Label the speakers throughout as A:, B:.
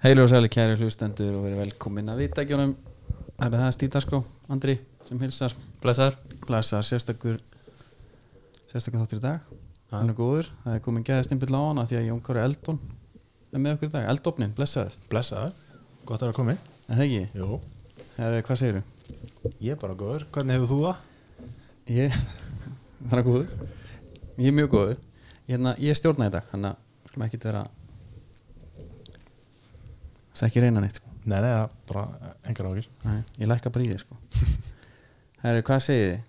A: Heilu og sæli kæri hlustendur og verið velkomin að viðtækjunum Það er það Stítarskó, Andri sem hilsar
B: Blessaður
A: Blæsar sérstakur sérstakur þáttur í dag
B: Ha.
A: Hann er góður, það er komin gæðist innbyll á hana því að Jón Kári Eldon er með okkur í dag, Eldofnin, blessaður
B: Blessaður, gott að vera komið
A: En það ekki,
B: Jú
A: Heru, hvað segirðu?
B: Ég er bara góður, hvernig hefur þú það?
A: Ég, það er góður Ég er mjög góður Hérna, Ég stjórna í dag, þannig að skulum ekki vera Það er ekki reyna neitt sko
B: Nei, nei, það er bara engar ákir
A: Nei, ég lækka bara í þig sko Herru, hvað segið þið?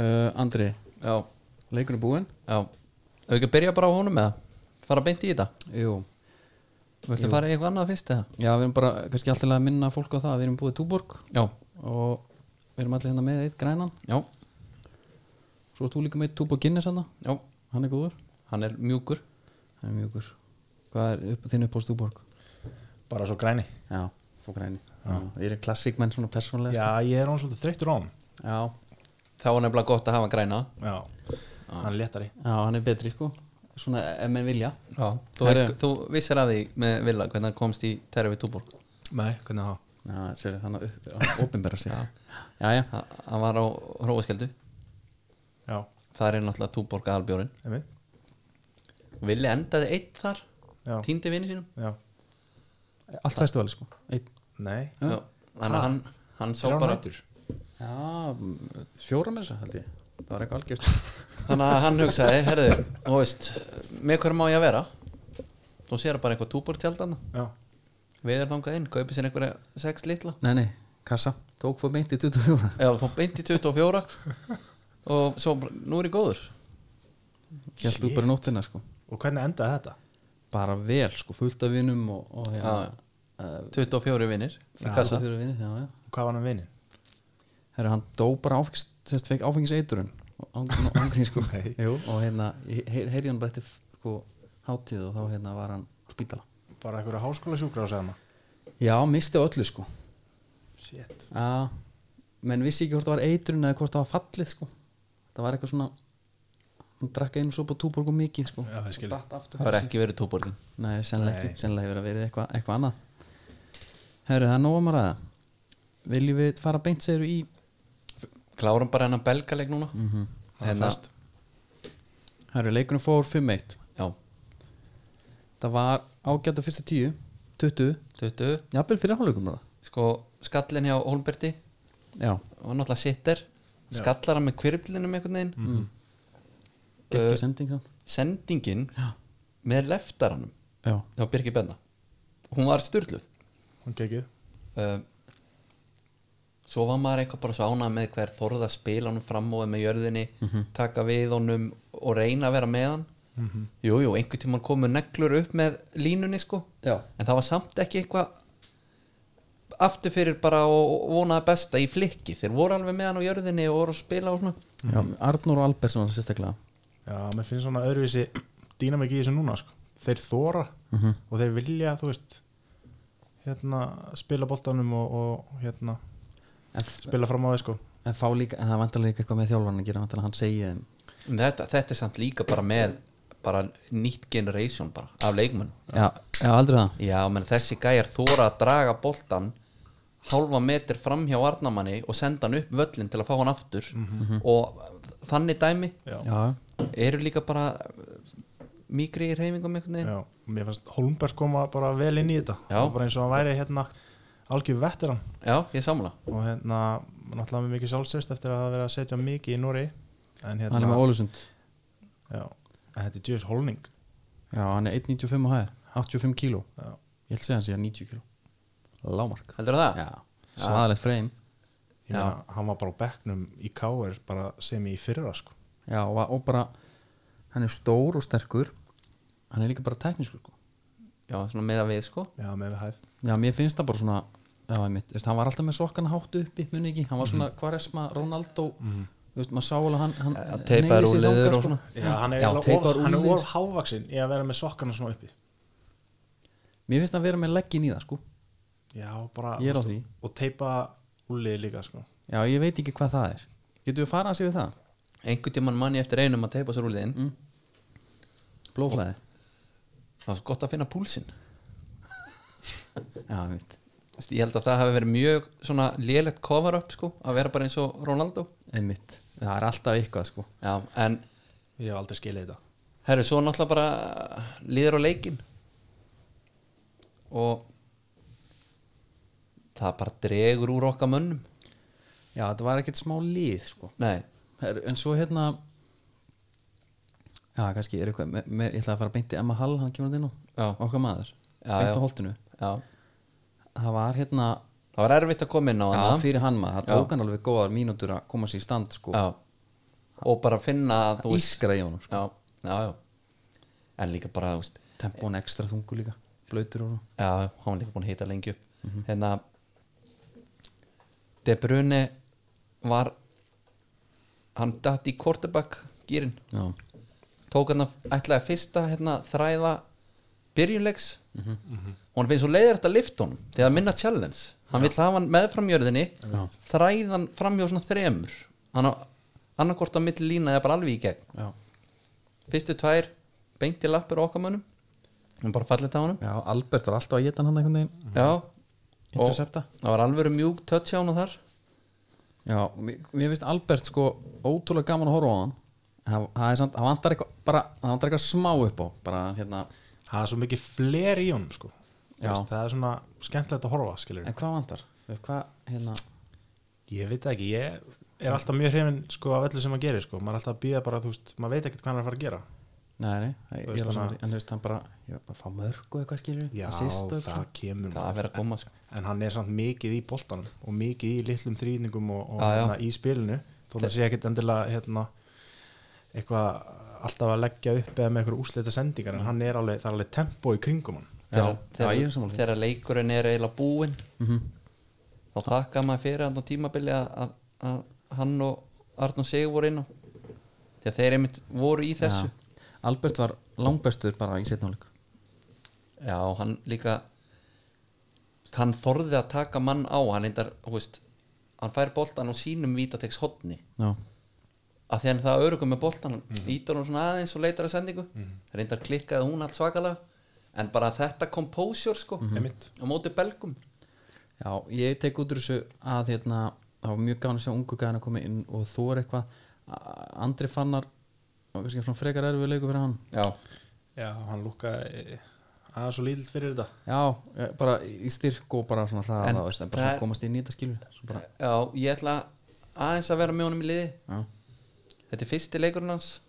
A: Uh, Andri,
C: Já,
A: leikur er búinn?
C: já Ef ekki að byrja bara á honum eða Fara beint í þetta
A: Jú
C: Viltu fara í eitthvað annað fyrst eða?
A: Já, við erum bara kannski alltaf að minna fólk á það að Við erum búið Túborg
C: Já,
A: og við erum allir hérna með eitt grænan
C: já,
A: Svo ert þú líka með Túborg Guinness hann
C: já
A: Hann er góður
C: Hann er mjúkur
A: Hann er mjög góður Hvað er upp, þinn upp á Túborg?
B: Bara svo græni
A: Já, fór græni Já, Ég er klassik menn svona persónlega
B: Já, ég er hann svolítið þreyttur á hann
A: Já,
C: Þá er nefnilega gott að hafa græna
B: Já,
C: Ah.
B: hann er léttari
A: já, hann er betri sko Svona ef menn vilja
C: Já, þú,
A: Herru.
C: veist, þú vissir að því með Villa hvernig hann komst í Terfi Túborg
B: Nei, hvernig það?
A: Já, sér, hann að upp- að opinbera sig Já, já,
C: Ha- Hann var á Hróaskeldu
B: Já,
C: Það er náttúrulega Túborg aðalbjórin
B: einmitt
C: Villi endaði eitt þar
B: Já.
C: Týndi vini sínum
B: Já,
A: allt festivali sko Eitt
B: nei
A: Já.
C: Já, Þannig að hann, hann sá
B: Þrjár
C: bara
B: nætur.
A: Já, fjóra með þess að held ég Það var eitthvað algjörst
C: Þannig að hann hugsaði, herðu, þú veist Með hver má ég að vera? Þú sér bara eitthvað Túborg tjaldana
B: Já,
C: Við erum þangað inn, kaupið sér einhverja sex litla
A: Nei, nei, kassa, tók fór beint í 24
C: Já, fór beint í 24 og svo bara, nú er ég góður
A: Hjælt þú bara nóttina sko
B: og hvernig endaði þetta?
A: Bara vel sko, fullt af vinum og, og
C: Já,
A: hérna, eh,
C: 24 vinnir í
A: fullt
C: kassa
A: af fyrir vinir, já, já
B: Hvað var hann að vinni?
A: Herra, hann dó bara áfengst, sérst, fekk áfengiseiturun Ángrín sko
B: Nei.
A: Jú, og hérna, ég heyr, heyri hann bara eftir sko hátíð og þá hérna var hann á spítala
B: Bara einhverja háskóla sjúkra á segna
A: Já, misti öllu sko
B: Shit
A: Já, menn vissi ekki hvort það var eiturinn eða hvort það var fallið sko Það var eitthvað svona hún drakk einu sopa túborg og mikið sko
B: Já, það skil ég.
A: Datt aftur
C: Það er ekki verið túborgin
A: Nei, sennilega
B: Nei.
A: ekki, sennilega hefur það verið eitthvað eitthva annað Herru, það er nóg um að ræða Viljum við fara beint segiru í
C: Klárum bara hennan belgaleg núna mm -hmm. Hérna,
A: Herru, leikunum fór 5-1
C: já,
A: Það var ágæta fyrstu 10 20,
C: 20
A: jafnvel fyrir hálfleikum bara.
C: Sko, skallin hjá Holmberti
A: Já,
C: og náttúrulega sitter Skallar hann með kvirflinum einhvern veginn
A: ekki
C: Uh,
A: sending sko. samt
C: Sendingin
A: Eh, Já,
C: með leftaranum
A: já,
C: hjá Birgir Benna Hún var styrluð
B: Hún kekið
C: uh, svo var maður eitthvað bara svo ánað með hver þorð að spila honum fram og er með jörðinni taka við honum og reyna að vera með hann jújú, jú, einhvern tímann komu neglur upp með línunni sko
A: já.
C: en það var samt ekki eitthvað aftur fyrir bara og vonaði besta í flikki, þeir voru alveg með hann á jörðinni og voru að spila og svona
A: já Arnur og Albert sem var sérstaklega
B: Já, mér finnst svona öðruvísi dýnamik í þessu núna sko. þeir þóra
A: Mhm.
B: og þeir vilja þú veist hérna, spila boltanum og, og hérna,
A: En
B: spila fram á þau sko.
A: En, fá líka, en það vantar líka eitthvað með þjálfarni að gera vantar að hann segja þeim
C: En þetta, þetta er samt líka bara með bara nýtt generation bara af leikmönnum
A: Já, já aldrei það
C: Já, menn þessi gæjar þóra að draga boltan hálfa metr fram hjá Arnamanni og senda hann upp völlin til að fá hann aftur og þannig dæmi
B: Já.
A: Já,
C: eru líka bara uh, mýkri í reyfingum einhvern veginn
B: Já, mér fannst Holmberg koma bara vel inn í þetta
C: Já.
B: Og bara eins og hann væri hérna, algjör veteran
C: Já, ég samla
B: og hérna, náttúrulega með mikið sjálfsvist eftir að það verið að setja mikið í Noregi en
A: hann er með
B: hérna,
A: Ólusund
B: já, en þetta er djöðs holning
A: Já, hann er 1,95 á hæð 85 kíló
B: Já.
A: Ég held segja hann sé að 90 kíló Lámark
C: Heldur það?
A: Já, svaðalegt freim
B: ég meina, hann var bara á bekknum í K.R. bara sem í fyrra sko.
A: Já, og, og bara hann er stór og sterkur hann er líka bara teknískur sko.
C: Já, svona með að við sko
B: já, með við hæð
A: Já, mér finnst það bara svona Já, einmitt, Vist, hann var alltaf með sokkana hátt uppi muni ekki, hann var svona Quaresma, Ronaldo mm. veist, maður sá alveg að hann, hann
C: Já, teipaður
A: hneigði sig
C: úlnliður
A: þangað,
C: og
A: sko.
C: svona.
B: Já, hann er,
A: Já,
B: já,
A: teipar
B: of, hann er
A: úlnliður.
B: of hávaksin í að vera með sokkana svona uppi
A: Mér finnst það að vera með leggin í það sko
B: Já, bara
A: Ég er á því.
B: Og teipa úlið líka sko.
A: Já, ég veit ekki hvað það er Getum við farað sér við það?
C: einhvern tímann manni eftir einum að teipa sér úr liðin
A: Blóflæði
C: það var svo gott að finna púlsinn
A: já, mitt
C: Þú veist, ég held að það hafi verið mjög svona lélegt cover up sko, að vera bara eins og Ronaldo
A: einmitt, það er alltaf eitthvað sko
C: já, en
B: ég hef aldrei skilið þetta
C: herru, svo náttúrulega bara líður á leikin og það bara dregur úr okkar mönnum
A: já, þetta var ekkert smá líð sko
C: nei,
A: Her, en svo hérna já, kannski er eitthvað me, me, ég ætla að fara beint í Emma Hall, hann kemur hann inn
C: Já.
A: á okkar maður,
C: Já,
A: beint
C: já.
A: á holtinu
C: já
A: það var hérna
C: það var erfitt að koma inn á
A: já,
C: hana
A: fyrir hann maður, það
C: Já.
A: tók hann alveg góðar mínútur að koma sér í stand sko,
C: já. og bara finna að þú
A: það ískra í honum sko.
C: já, já, já en líka bara, þú veist
A: tempón ekstra þungu líka, blöytur og svona
C: já, hann var líka búin að hita lengi upp
A: Mhm.
C: hérna De Bruyne var hann datt í quarterback gýrin,
A: já,
C: tók hann að ætlaði að fyrsta hérna, þræða byrjunlegs og hann finnst svo leiðir þetta lift honum þegar minna challenge hann vill hafa hann með framjörðinni þræðan framjörð svona þremur hann á annarkort á milli lína eða bara alveg í gegn
A: já.
C: fyrstu tvær beinti lappur á okkar mönnum hann bara fallið á honum
A: já, Albert var alltaf að geta hann hann einhvern veginn
C: já, og
A: intercepta
C: það var alveg mjúk touch á hana þar
A: já, mér, mér finnst Albert sko ótrúlega gaman að horfa á hann það, það er samt, það vantar eitthvað bara, það vantar eitthvað smá upp á bara hérna,
B: það er svo mikið fler í honum sko. Þú
A: Já.
B: veist, það er svona skemmtilegt að horfa skilur.
A: en hvað vantar? hvað, hérna
B: ég veit það ekki, ég er alltaf mjög hrifin sko, af öllu sem maður gerir sko. maður er alltaf að býða bara, þú veist, maður veit ekkert hvað hann er að fara að gera
A: Nei, nei,
B: Þú
A: ég er
B: veist,
A: að
B: hann
A: saman En þú veist, hann bara, ég var bara að fá mörg og eitthvað skilur
B: já,
A: assist og
B: það
A: eitthvað.
B: kemur
C: það að vera að koma sko.
B: en hann er samt mikið í boltanum og mikið í litlum þrýningum og, og
C: Já, já.
B: hérna, í spilinu þó það sé ekkit endilega hérna, eitthvað alltaf að leggja upp eða með eitthvað úsleita sendingar en
A: Mm.
B: hann er alveg, það er alveg tempo í kringum hann
A: Já,
C: þegar,
A: já, ég er
C: þegar,
A: sammála því.
C: þegar leikurinn er eiginlega búinn
A: Mhm.
C: þá þakka maður fyrir hann á tímabili að, að, að hann og Arnó Sigur voru inn á þegar þeir einmitt voru í þessu já,
A: Já. Albert var langbestur bara í setnáleik
C: hann líka hann þorði að taka mann á hann eindar, þú veist hann fær boltan á sínum vítateks hotni
A: Já,
C: að því hann er það örugum með boltan mm
A: Mhm.
C: -hmm. ítar hún svona aðeins og leitar að sendingu reyndar klikkaði hún allt svakalega en bara þetta composure sko
B: Einmitt.
A: Mhm.
C: á móti belgum
A: já ég tek út úr þessu að hérna, það var mjög gæðan að sjá ungu gæðan að koma inn og þú er eitthvað A- Andri fannar og kannski svona frekar erfið leiku fyrir hann
C: já,
B: já, hann lúkaði aðeins og lítilt fyrir þetta
A: Já, eh, bara í styrk og bara svona hraða
C: En
A: en, veist, en bara
C: það
A: svona
C: er-
A: komast inn í þetta skilur Svo bara,
C: já, ég ætla aðeins að vera með honum í liði
A: já.
C: þetta er fyrsti leikurinn hans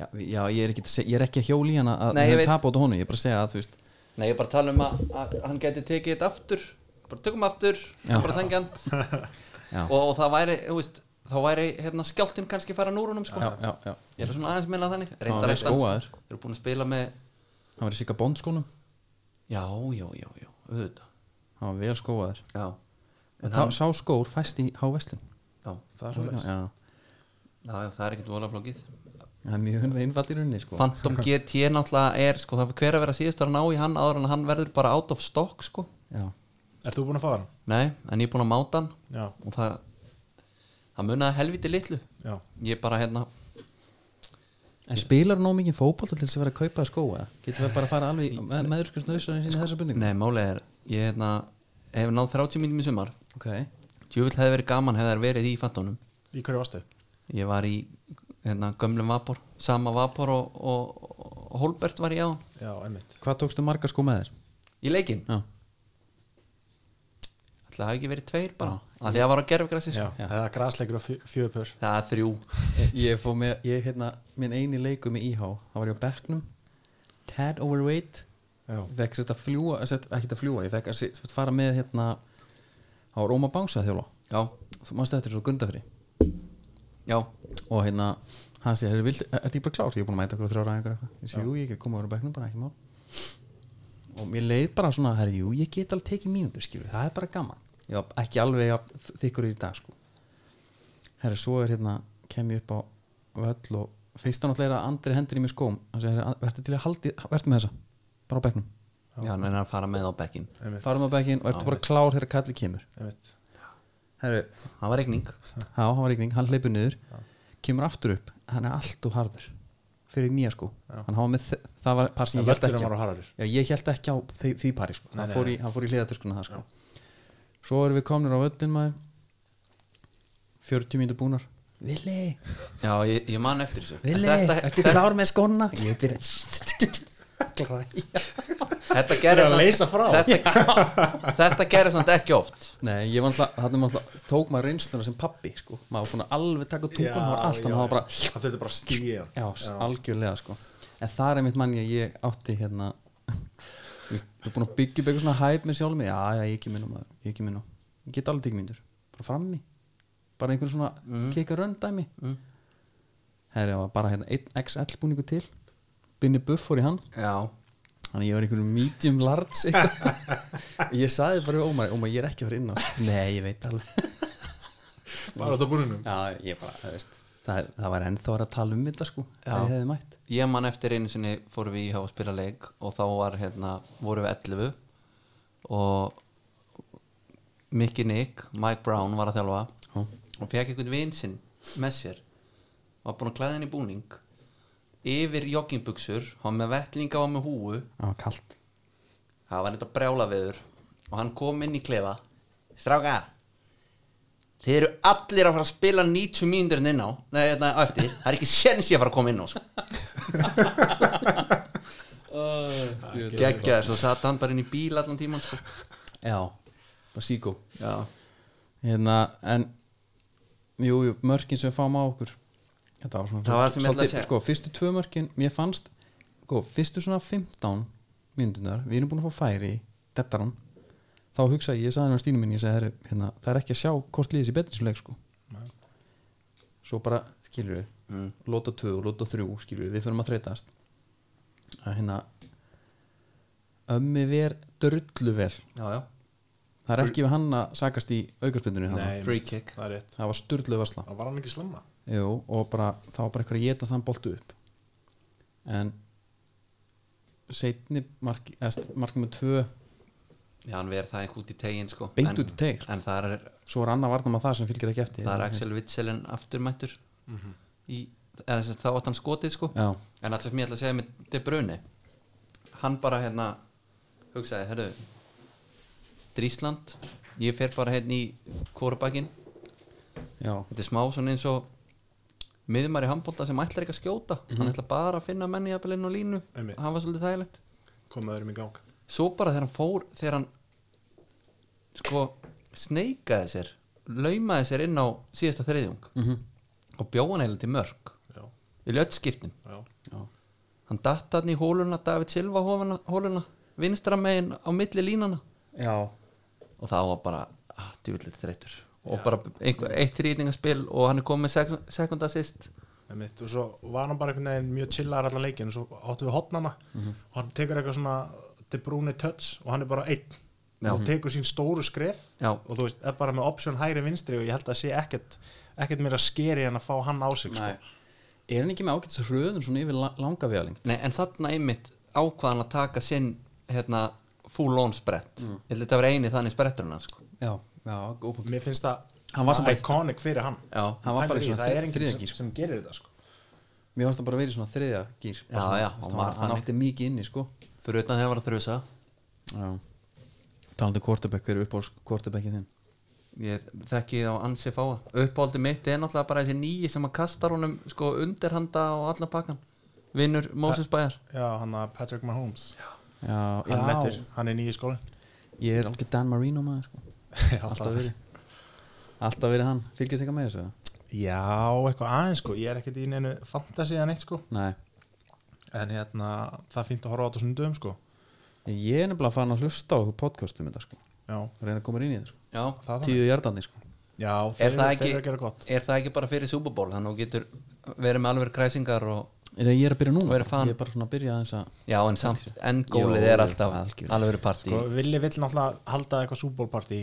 A: Já, vi- já, ég er ekki, að seg- ég er ekki að hjóli hann að
C: Nei, ég veit.
A: tapa út á honum, ég er bara að segja að þú veist
C: nei, ég er bara að tala um að, að hann geti tekið þetta aftur bara tökum aftur,
A: Já.
C: bara sangjant
A: Já.
C: og, og það væri, þú veist þá væri hérna skjáltinn kannski fara núr honum sko.
A: Já, já, já,
C: ég er svona aðeins meina þannig
A: hann
C: reyndar
A: var
C: ekki hans,
A: skóaður.
C: þeir eru búin að spila með
A: hann var í sigga bondskónum
C: já, já, já, já, auðvitað
A: hann var vel skóaður
C: já,
A: En þá, sá skór fæst í háveslin
C: já,
B: það er svo
A: já, já.
C: já, já það er ekkert vola flókið
A: það er mjög einfalt í rauninni sko.
C: Phantom GT náttúrulega er sko, það er hver að vera síðust að ná í hann áður en hann verður bara out of stock sko.
A: já,
B: er þú búin að fá hann?
C: Nei, en ég er búin að máta hann
B: já,
C: og það það munaði helviti litlu
B: já,
C: ég bara hérna,
A: en spilar nóg mikið fótboll til þess að vera að kaupa skóa getur við bara að fara alveg með, meðurskust nöðsarinn sinni í þessa bundingu
C: nei málega er ég hérna, hef náð 30 mínum í sumar
A: ok,
C: djúvill hefði verið gaman hefði þær verið í fantónum
B: í hverju varstu?
C: ég var í hérna, gömlum vapor, sama vapor og, og, og Holbert var ég á
B: já, einmitt
A: hvað tókstu marga skó með þér?
C: í leikinn,
A: já,
C: alltaf hafi ekki verið tveir bara, af því að það var á gerfugrassi
B: já,
C: sko.
B: það er grasleikur og fjö- fjögur
C: það er þrjú
A: ég, ég fór með ég, hérna, minn eini leiku með IH það var ég á bekknum tad overweight
B: pör
A: ég fekk sérst að fljúa, sérst, ekki að fljúa ég fekk að sérst, fara með hérna á Róma Bangsa þjóla
C: já,
A: þú manst eftir svo gundafri
C: já,
A: og hérna hann sé, er, vild, er því bara klár, ég er búin að mæta okkur þrjára eða eitthvað, ég sé, jú, ég get komið úr bekknum bara ekki mál og mér leið bara svona herri, jú, ég get alveg tekið mínútur, skilur það er bara gaman, ég var ekki alveg jafn þykkur í dag, sko herri, svo er hérna, kem ég upp á völl og fyrst hann alltaf er að andri hendur í mér skóm, hann sé, herri, verður til að haldi verður með þessa, bara á bekknum
C: já, hann er að fara með á bekkin
B: einmitt,
A: farum á bekkin og ertu bara klár þegar kallið kemur
B: einmitt
A: herri,
C: það var regning
A: já, hann var ykning, hann hleypur niður kemur aftur upp, hann er allt og harður fyrir nýja sko
B: Já.
A: hann hafa með, þe- það var par sem ég held
B: Völlurinn
A: ekki á
B: var á Hararir
A: já, ég held ekki á því, því pari sko.
B: Nei,
A: hann,
B: nei,
A: fór í, hann fór í hliðatöskuna það sko svo erum við komnir á völlin maður 40 mínútur búnar Vili,
C: já, ég, ég man eftir þessu
A: Vili,
C: En þetta,
A: ertu klár með skona? Ég er byrjað
C: þetta
B: Þeir
C: gerir
B: eru að
C: samt-
B: leysa frá.
C: þetta, þetta gerir samt ekki oft
A: Nei, ég var alltaf, þannig maður alltaf tók maður reynsluna sem pappi, sko maður svona alveg taka tungan á allt, þannig að það var bara
B: Það þetta bara stíðan
A: Já, já. algjörlega sko En það er einmitt manni að ég átti hérna Þú veist, þú er búin að byggja upp eitthvað svona hæp með sjálf mig, já, já, ég ekki minnum maður, ég ekki minnum Ég get alveg tík myndur, bara frammi Bara einhvern svona mm. keka röndæmi mm. Herri, það var bara hérna einn XL búningu til Binni Buff fór í hann
C: já,
A: Þannig að ég var einhverjum medium large eitthvað. Ég saði bara við Ómar, Ómar, ég er ekki að fara inn á Nei, ég veit alveg
B: Bara þetta búinum
A: Já, ég bara, það veist Það, það var ennþá að tala um þetta sko
C: Já.
A: þegar ég hefði mætt
C: ég man eftir einu sinni fórum við í að spila leik og þá var hérna, vorum við 11 og Mickey Nick, Mike Brown var að þjálfa
A: Já.
C: og fekk einhvern vin sinn með sér var búin að klæða henni í búning yfir joggingbuxur hann með vettlinga og með húu
A: Það var kalt
C: það var þetta brjála viður og hann kom inn í klefa strákar þið eru allir að fara að spila 90 mínútur inn á nei, hérna, á eftir, það er ekki séns ég að fara að koma inn á sko. geggja þess og satt hann bara inn í bíl allan tíman sko.
A: Já, bara síkó
C: já,
A: hérna, en jú, jú, mörkin sem við fáum á okkur þetta var svona
C: Það var sem ég ætlaði að
A: svolítið-
C: segja.
A: sko, fyrstu tvö mörkin, mér fannst sko, fyrstu svona 15 myndunar, við erum búin að fá færi í dettaran, þá hugsaði ég ég sagði hann að stínu minni, ég sagði, "Herru, hérna, það er ekki að sjá hvort liðis í betnisleik sko. svo bara, skilur við
C: Mm.
A: lóta tvö og lóta þrjú, skilur við við förum að þreytast að hérna ömmi ver drullu vel
C: já, já,
A: það er ekki við hann að sakast í aukarspindunni
C: Free kick.
B: Það er rétt
A: það var styrlu varsla
B: Það var hann ekki slemma
A: Jú, og bara, það var bara eitthvað að geta þann boltu upp en seinni mark, eðst, markum með tvö
C: já hann verð það einhvern út í tegin sko.
A: Beint
C: En-
A: út í teig, sko.
C: en það er,
A: svo er annað varnum að það sem fylgir ekki eftir
C: það er Axel Witzelin afturmættur í, eða þess að þá átt hann skotið sko.
A: Já,
C: En alltaf sem ég ætla að segja með De Bruyne Hann bara hérna hugsaði, herru Drísland, ég fer bara hérna í kórubakinn
A: já,
C: Þetta er smá svona eins og miðumar í handbólta sem ætlar ekki að skjóta Hann ætla bara að finna menni jafnvel inn á línu
B: Einmitt.
C: Hann var svolítið þægilegt
B: Komaður um í gang
C: Svo bara þegar hann fór, þegar hann sko sneikaði sér laumaði sér inn á síðasta þriðjung -hmm. og bjóð hann eiginlega til mörg
B: Já,
C: í lötskiptum
B: já
A: já,
C: hann datt hann í hóluna David Silva hóluna, hóluna vinstra megin á milli línana
A: já.
C: og það var bara ah, djúvillir þreytur og bara einhver, eitt rýtingaspil og hann er komið sek sekunda sýst
B: Einmitt. og svo var hann bara einhvern veginn mjög chillar allan leikin og svo áttu við hotnana
A: Mhm.
B: og hann tekur eitthvað svona De Bruyne touch og hann er bara einn
C: Já.
B: og tekur sín stóru skref
C: Já.
B: og þú veist, er bara með option hægri vinstri og ég held að sé ekkert ekkert meira skeri en að fá hann á sig sko.
A: Nei. er hann ekki með ágætis röðun svona yfir la- langa viðaling
C: Nei, en þarna einmitt ákvaðan að taka sinn hérna, full on sprett mm. þetta var eini þannig spretturinn hans, sko.
A: já, já, góð punkt
B: mér finnst það
A: Hann var samt bara-
B: iconic fyrir hann
C: já,
A: Hann var bara í
B: Pælir
A: svona
B: það er
A: þri-
B: enginn
A: þriðja
B: sem,
A: gír.
B: sem gerir þetta sko.
A: mér fannst það bara verið svona þriðja gýr
C: Já, já, hann
A: hann,
C: var
A: hann
C: þannig.
A: átti mikið inni, sko
C: fyrir utan þegar var að þrjusa
A: já talandi quarterback, hver er upp á quarterbackið þinn
C: ég þekki á ansi fáa uppáldi mitt er náttúrulega bara þessi nýji sem að kastar honum sko undirhanda og allan pakkan vinnur Moses Bæjar
B: já, hann að Patrick Mahomes
A: já,
B: hann,
A: já.
B: lettur, hann er nýju skólin
A: Ég er alveg Dan Marino maður sko. Alltaf verið Alltaf verið hann, fylgjast eitthvað með þessu eða?
B: já, eitthvað aðeins sko ég er ekkert í neinu fantasy en eitt sko
A: Nei,
B: en hérna, það er fínt að horfa á þetta svona dögum sko
A: ég er nefnilega farin að hlusta á okkur podcast um þetta sko.
B: já,
A: reyna að koma inn í þetta sko.
C: já,
B: það er það
A: Tíu hjartandi sko.
B: Já,
C: er
B: þeir, þeir
C: það,
B: eru að
C: ekki,
B: gera gott
C: er það ekki bara fyrir Super Bowl þannig að þú getur verið með alveg kræsingar og,
A: Er- Ég er að byrja núna,
C: Verið fan.
A: ég er bara svona að byrja aðeins að
C: já en samt endgólið
A: Jó,
C: er alltaf
A: algjörlega.
C: alveg partí
B: sko, Villi vill náttúrulega halda eitthvað súbólparti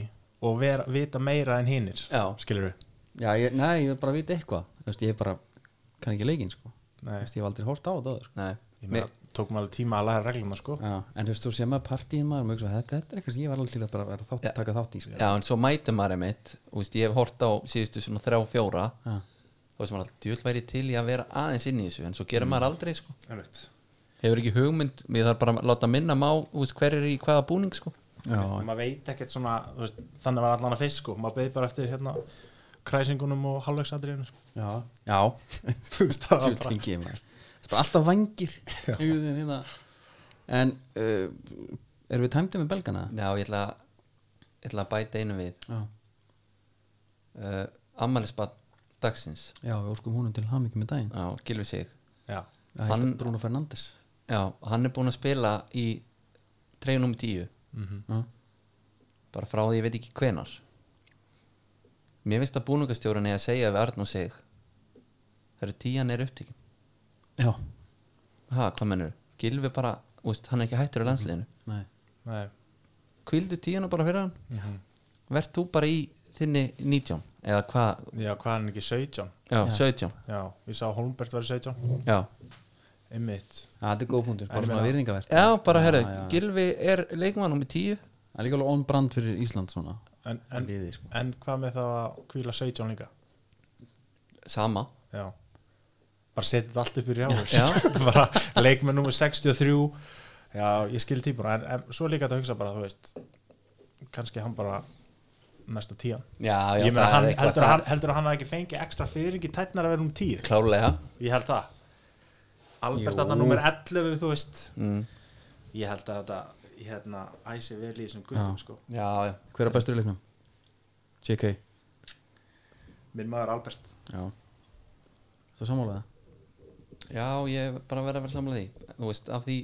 B: og vera, vita meira en hinnir
C: Já.
B: skilur við
A: Já, ég, nei, ég vil bara vita eitthvað Þú veist, Ég er bara, kann ekki leikinn sko. Þú veist, Ég hef aldrei hórt á þetta áður, sko.
C: Nei,
B: Ég
C: mér,
B: meina, tók maður alveg tíma að læra regluna sko
A: Já, En þú veist, þú sé maður partíin maður maður, hugsa, þetta, þetta er eitthvað sem ég var alveg til að bara vera þátt,
C: Já.
A: taka þátt í sko.
C: já en svo mætum maður einmitt og veist, ég hef hort á síðustu svona þrjá fjóra
A: Já.
C: þá veist maður alltaf djöld væri til í að vera aðeins inn í þessu en svo
B: Mm.
C: gerir maður aldrei sko
B: einmitt.
C: hefur ekki hugmynd, ég þarf bara að láta minna má úst, hver er í hvaða búning sko
A: já,
B: maður veit ekkert svona þú veist, þannig var allan að fyrst sko, maður beði bara eftir hérna kræsingunum og halvvegsadriðinu sko.
A: já, já.
B: þú veist það
A: Djöfull
B: var bara
A: tengi ég maður. það er bara alltaf vangir í húðinni hérna. en uh, erum við tæmdi með belgana?
C: já, ég ætla, ég ætla að bæta einu við
A: já,
C: uh, ammælisbann dagsins
A: já við óskum húnum til hamingi með daginn
C: já, gilfi sig
B: já,
A: Það er
C: Hann-
A: Bruno Fernandes
C: já, hann er búinn að spila í treinum tíu
A: já,
C: bara frá því ég veit ekki hvenar mér finnst að búningastjórun er að segja við Arn og seg það eru tían er upptíkin
A: já.
C: ha, hvað mennur, Gilvi bara úst, hann er ekki hættur á landsliðinu
A: nei
B: nei
C: kvildu tíana bara fyrir hann verð þú bara í þinni 19 eða hvað,
B: já, hvað er hann ekki, 17
C: já, 17
B: já, ég sá Holmbert var 17
C: já,
B: einmitt,
A: Já, þetta er góð punktur,
B: En
A: bara
B: ég
A: svona
B: meina-
A: virðingavert
C: já bara herru
A: já.
C: Gilvi er leikmann um
A: Það
C: 10
A: er líka alveg on brand fyrir Ísland svona
B: en, en,
A: liði, sko.
B: en hvað með það að kvíla 17 líka
C: sama,
B: já bara setja þetta allt upp í rjáður
C: Já.
B: bara leikmenn nummer 63 já, ég skil típuna en, en svo líka þetta að hugsa bara, þú veist kannski hann bara næsta tían
C: já, já
B: ég meina,
C: það er
B: hann,
C: eitthvað
B: heldur, að
C: þar.
B: hann, heldur að hann hafi ekki fengið ekstra fyrringi tætnar að vera um tíu
C: klárlega
B: ég held það Albert
A: Jú.
B: þarna nummer 11 þú veist
C: mm.
B: ég held að þetta ég hérna æsi vel í þessum guttum sko
C: já, já,
A: Hver er bestur í leiknum? JK
B: minn maður Albert
A: Já Svo sammálaða
C: já, ég hef bara verið að vera samlega því þú veist, af því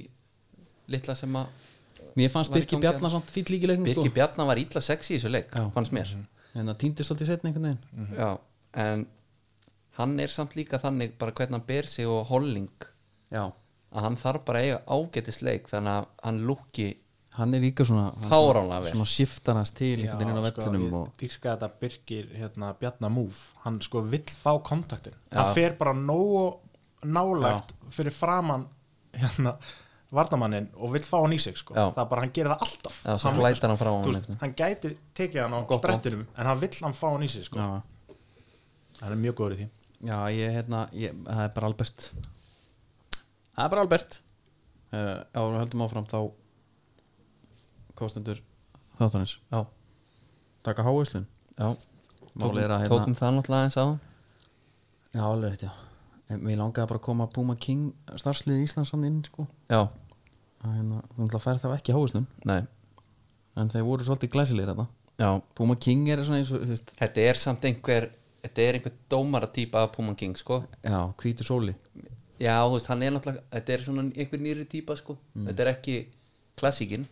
C: litla sem að
A: Mér fannst
C: Var í
A: Birki
C: gangi
A: Bjarnar samt fýll líki í leiknum sko. Hérna,
C: Birgir Bjarnar var illa sexy í þessu leik
A: Já.
C: fannst mér
A: Bjarnar En það týndist alltaf í setni einhvern veginn
C: já, en hann er samt líka þannig bara hvernig hann ber sig og holling
A: Já
C: að hann þarf bara að eiga ágætisleik þannig að hann lúki
A: Hann er líka svona
C: Fáránlega vel.
A: Svona shiftar hans til einhvern veginn á vellinum
B: sko, ég
A: og,
B: dýrka þetta Birgir hérna Bjarnar Múf hann sko vill fá kontaktin
C: Já.
B: hann fer bara nógu nálægt fyrir framann hérna varnamannin og vill fá hann í sig sko
C: Já.
B: það er bara hann gerir það alltaf
C: Já, svo
B: hann,
C: glætar hann frá
B: þú
C: hann
B: veist,
C: einhvern
B: hann gæti tekið hann á
A: Gott vont.
B: sprettinum en hann vill hann fá hann í sig sko
A: Já,
B: hann er mjög góður í því
A: já ég hérna ég, Það er bara Albert Það er bara Albert uh, Já, við höldum áfram þá Kostendur Þáttanins
C: Já,
A: Taka háislun
C: já
A: Málið er að
C: Tókum-
A: hérna-
C: Tókum það náttúrulega eins á
A: Já, alveg rétt, já En mér langaði bara að koma að Puma King starfslið Íslands hann inn, sko
C: Já,
A: Það hérna, þú ætla að færa það ekki í háusnum
C: nei,
A: En þeir voru svolítið glæsilegir þetta
C: já
A: Puma King er svona eins og, þú veist
C: Þetta er samt einhver Þetta er einhver dómara típa af Puman King, sko
A: Já, hvítu sóli
C: Já, þú veist, hann er náttúrulega Þetta er svona einhver nýri típa, sko Þetta er ekki klassíkin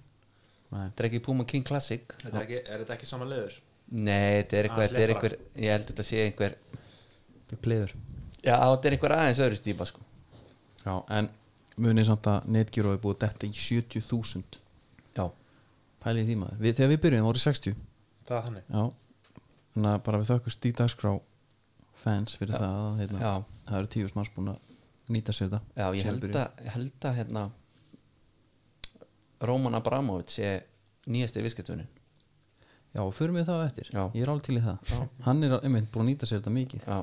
A: Nei,
C: Þetta er ekki Puman King klassík
B: er, ekki, er þetta ekki saman leður?
C: Nei, þetta er einhver,
B: Aðeins
C: þetta er einhver
B: léttara.
C: Ég held þetta sé einhver
A: þetta er pleður
C: Já, þetta er einhver aðeins öðru típa, sko
A: Já, en munið samt að Netgyro er búið detta í 70.000
C: Já,
A: Pælið í því maður við, Þegar við byrjuðum voru 60
B: Það er þannig
A: Já, þannig að bara við þökkum stíðdagskrá fans fyrir það að, hérna,
C: Já.
A: Það eru tíu smanns búin að nýta sér þetta
C: já ég
A: síðan
C: held
A: byrjuðum.
C: að Ég held að, hérna Róman Abramovic sé nýjasti viðskiptunin
A: Já, förum við það á eftir,
C: Já.
A: ég er alveg til í það Hann er einmitt búin að nýta sér þetta mikið
C: Já,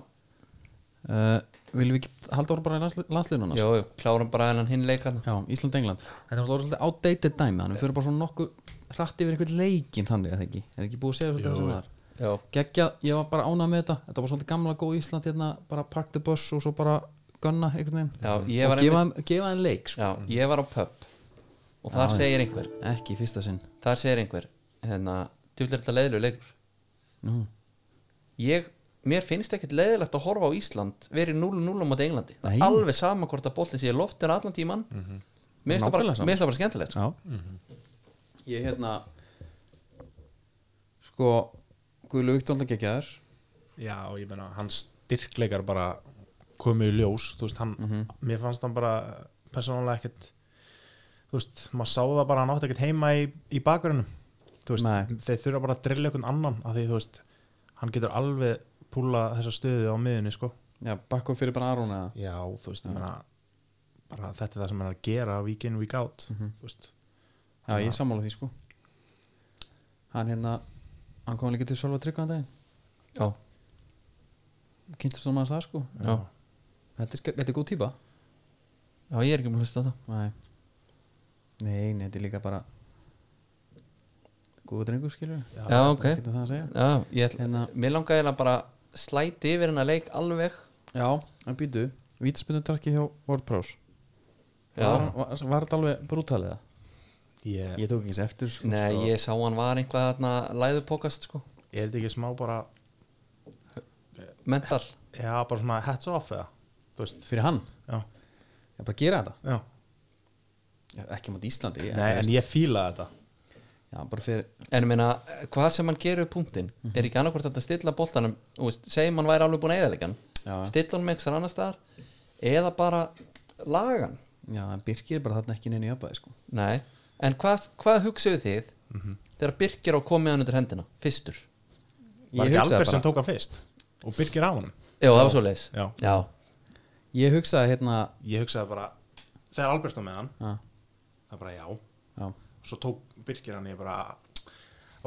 A: uh, Viljum við ekki halda orða bara í landsliðunarnas?
C: Jó, jú, klárum bara hennan hinn leikarna
A: Já, Ísland-England Þetta er orða svolítið outdated dæmi Þannig við förum bara svona nokkuð hratt yfir eitthvað leikinn þannig að það ekki Er ekki búið að segja svolítið það sem það er
C: Já,
A: Gekkja, ég var bara ánað með þetta Þetta var svolítið gamla góð Ísland hérna Bara park the bus og svo bara gunna einhvern veginn
C: já, ég var
A: Og gefa, einmitt... gefa þeim leik sko.
C: já, ég var á pub og þar segir einhver
A: Ekki í fyrsta sinn
C: þar segir einhver hérna, djúlega þetta leiðilegu leikur
A: Nú,
C: ég, mér finnst ekkit leiðilegt að horfa á Ísland verið 0-0 á móti Englandi það
A: Nei.
C: er alveg sama hvort að boltin sé í loftin allan tíman mm -hmm. mér finnst það
A: Nákvæmlega
C: bara,
A: sama.
C: mér finnst það bara skemmtilegt sko.
A: Já Mhm. Ég hérna Sko Guðlu Víktónlega gekkjaður
B: Já, og ég meina, hans styrkleikar bara komið í ljós, þú veist, hann mér fannst hann bara persónulega ekkert þú veist, maður sá það bara hann átti ekkert heima í, í bakverðinum þú veist,
A: Nei.
B: þeir þurfa bara að drilla einhvern annan af því, þú veist, hann getur alveg púla þessa stöðu á miðunni, sko
A: Já, bakkum fyrir bara Aron eða
B: Já, þú veist, ég meina bara þetta er það sem hann er að gera week in, week out þú veist,
A: Já, ég er sammála því sko Hann hérna Hann kom líka til Sölva Tryggvan daginn
C: já,
A: um kynntist þú maður það sko
C: já.
A: þetta er, ske- þetta er góð típa
C: já, ég er ekki með hlusta á það
A: nei. nei, nei, þetta er líka bara góð drengur skilur
B: Já,
C: já, ok
A: Getur það að segja
C: já, ég ætla,
A: Hérna-
C: mér langaði eiginlega bara að slæti yfir hennar leik alveg
A: Já, en býtu, vítaspunutarki hjá WordPress
C: Já.
A: var, var, var þetta alveg brútalið það?
B: Ég,
A: Ég tók ekki sér eftir sko.
C: Nei, ég sá hann var einhvað þarna læðupokast sko,
B: er þetta ekki smá bara
C: mental
B: já, bara svona hats off eða þú veist,
A: Fyrir hann,
B: já,
A: ég bara gera þetta
B: já
A: Já, Ekki mátt Íslandi ég,
B: Nei, en ég fíla þetta
A: Já, bara fyrir
C: en ég meina, hvað sem hann gerur punktin er ekki annarkvort hægt að stilla boltanum þú veist, segjum hann væri alveg búin að eða leikann
A: Já, já.
C: stilla hann með einhver annar staðar eða bara lagan
A: Já, en Birkir er bara þarna ekki neina í jafnvæði sko.
C: Nei, en hvað, hvað hugsaðu þið þegar Birkir á komið hann undir hendina fyrstur?
B: Var
A: Ég
B: ekki
A: hugsaði
B: Albert sem
A: bara
B: tók hann fyrst og Birgir á honum
C: Já, það var svo leis
B: Já.
C: Já.
A: Ég hugsaði hérna
B: Ég hugsaði bara, þegar Albert var með hann
A: Já,
B: það bara já,
A: já
B: svo tók Birgir hann ég bara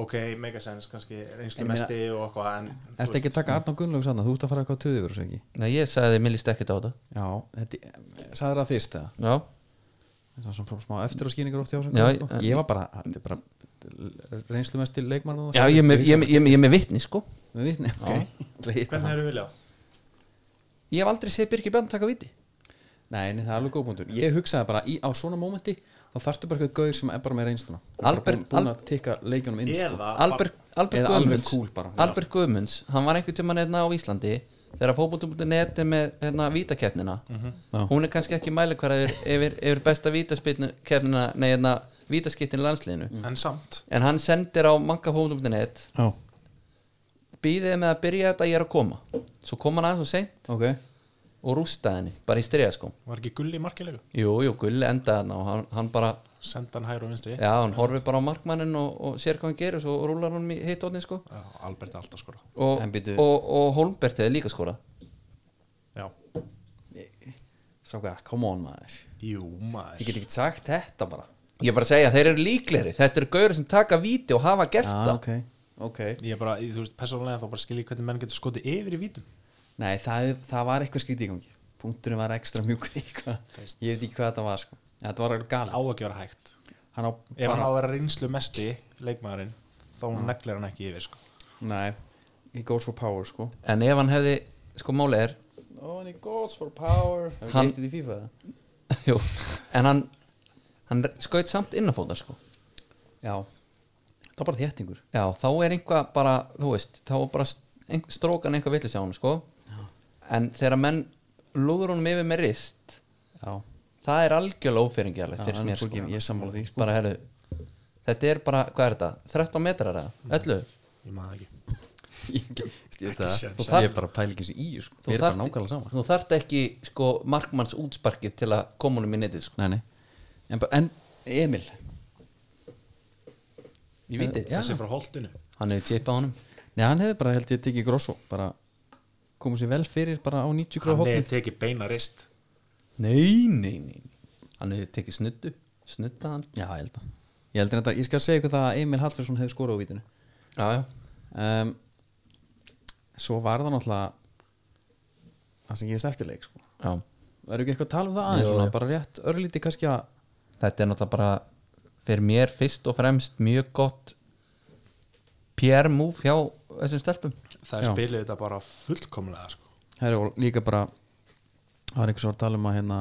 B: ok, megasens, kannski reynslu
A: En ég meina-
B: mesti og eitthvað en þú
A: Ertu ekki að taka Arnán Gunnlaugs annað, þú ert að fara eitthvað töðu verið svo ekki
C: Nei, ég sagði þið, mér líst ekkert á þetta
A: Já, þetta, sagði það fyrst það
C: Já,
A: Það er svona smá eftir og skýningar oft hjá sem
C: Já,
A: sko.
C: ég-
A: Ég var bara, þetta er bara reynslumestil leikmann og
C: Já ég, er með- ég, ég, ég, ég er með vitni sko
A: Með vitni, ok Það er hitt
B: hvernig eru vilja?
C: Ég hef aldrei séð Birkir Björn taka viti
A: Nei, nei, það er alveg góð punktur Ég hugsaði bara í, á svona mómenti þá þarftu bara eitthvað gaur sem er bara með reynsluna Og bara
C: Albert-
A: búinn- búinn að tikka leikjunum inn sko.
B: eða
C: Albert, Albert
A: Eða alveg
C: Guðmunds
A: cool bara, já.
C: Albert Guðmunds, hann var einhvern tímann hérna á Íslandi þegar fótboltum.net er með hérna vítakeppnina
A: Já.
C: hún er kannski ekki mælikvarður yfir, yfir besta vítakeppnina nei, hérna vítaskiptin í landsliðinu
A: Mhm. Mm.
B: en samt
C: en hann sendir á mankahóðum.net
A: Já,
C: býðið með að byrja þetta ég er að koma svo kom hann aðeins og seint
A: ok
C: og rústaði henni, bara í styrja sko
B: var ekki gull í markilega
C: jú, jú, Gulli endaði hann og hann, hann bara
B: senda hann hægur og vinstri
C: já, hann horfið bara á markmannin og, og sér hvað hann gerir svo rúlar hann í hitt ótni sko
B: Já, Albert er alltaf skora
C: og,
A: En bíddu.
C: og, og Holmbert hefði líka skora
B: já,
A: Strákar, come on maður
B: jú maður
A: Ég get ekki sagt þetta bara
C: ég er bara að segja, þeir eru líkleri þetta eru gaur sem taka víti og hafa gert
A: Já, Ah,
C: það
A: ok, ok
B: ég bara, ég- þú veist, persónulega þá bara skil ég hvernig menn getur skotið yfir í vítum
A: Nei, það, það var eitthvað skrítið í gangi Punkturinn var ekstra mjúkur í hvað Ég veit ekki hvað þetta var sko Þetta var alveg
B: á
A: galið
B: að gera hægt
A: Hann á
B: ef hann á
A: bara
B: að vera reynslu mesti leikmaðurinn þá neglir hann ekki yfir sko.
A: Nei, he goes for power sko
C: en ef hann hefði, sko málið er
A: Oh, and he goes for power Það er
C: Hann-
A: ekki eitt í FIFA það
C: jú, en hann hann skaut samt innanfóta sko
A: Já, það var bara þéttingur
C: Já, þá er einhvað bara, þú veist þá er bara ein, strókan einhvað villis á hann sko. en þegar menn lúður honum yfir með rist
A: Já,
C: það er algjörlega ófyringjarlegt
A: Já,
C: fyrir
A: hann er
C: mér sko.
A: fólkin, ég er sammála því, sko.
C: bara, heru, þetta er bara, hvað er þetta? 13 metrar eða? 11?
B: ég maður ekki
A: ég ég-
B: séns.
A: Þú þarft- ég er bara pæl ekki eins í þessu, sko.
C: Þú
A: við erum bara
C: þarft-
A: nákvæmlega saman
C: þú þarft ekki sko, markmanns útsparkið til að koma honum í netið sko.
A: nei, nei. En, bara- en Emil
C: ég veit
A: Eh, Já.
C: þetta,
B: þessi frá holdinu
C: hann hefur tippað honum
A: nei, hann hefði bara held ég tekið grosso bara komið sér vel fyrir bara á 90 gráð
B: hann er
A: hókn
B: tekið beina rist
C: nei, nei, nei hann hefur tekið snuddu, snuddað hann
A: já, ég held að ég, held að, ég skal segja ykkur það að Emil Hallfjörnsson hefði skorað á vítinu
C: já, já,
A: um, svo var það náttúrulega það sem gerist eftirleik sko.
C: já.
A: verður ekki eitthvað að tala um það aðeins
C: Jú,
A: svona,
C: jú.
A: bara rétt örlítið kannski að
C: þetta er náttúrulega bara fyrir mér fyrst og fremst mjög gott PR move hjá þessum stelpum
B: það
A: Já.
B: spilir þetta bara fullkomlega sko.
A: Herri, og líka bara það var einhvers var að tala um að hérna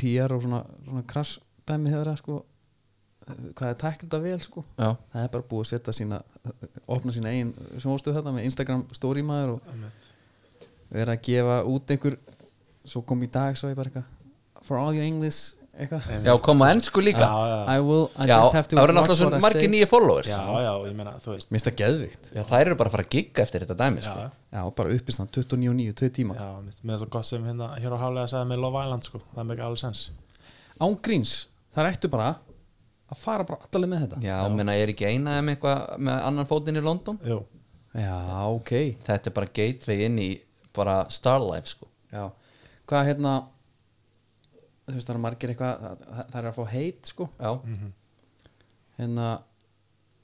A: PR og svona, svona crash dæmi hefur að sko hvað er tæknum þetta vel sko
C: já,
A: það er bara búið að setja sína opna sína einn sem óstu þetta með Instagram story maður og vera að gefa út einhver svo kom í dag svo ég bara eitthvað for all your English eitthvað
C: já koma ennsku líka
B: já, já,
A: I will, I
C: já
A: just have to
C: það eru náttúrulega
A: watch what
C: svona
A: I
C: margir
A: say.
C: nýju followers
B: já, já, ég meina, þú veist
A: Mér finnst það geðvikt
C: Já, þær eru bara að fara að gigga eftir þetta dæmi
B: já,
C: sko.
B: já,
A: Já, bara uppist hann 29 og 9, 2 tíma
B: með með svo gott sem hérna hér á Hálega sagði með Love Island sko. það er mikið alveg sens
A: Án gríns, það ættu bara að fara bara allaleg með þetta
C: já, já. menna ég er ekki eina með eitthvað með annan fótinn í London
B: Jú.
A: Já, ok
C: þetta er bara gateway inn í bara star life sko.
A: Já, hvað hérna þú veist það eru margir eitthvað það, það er að fá heit sko
C: já,
A: hérna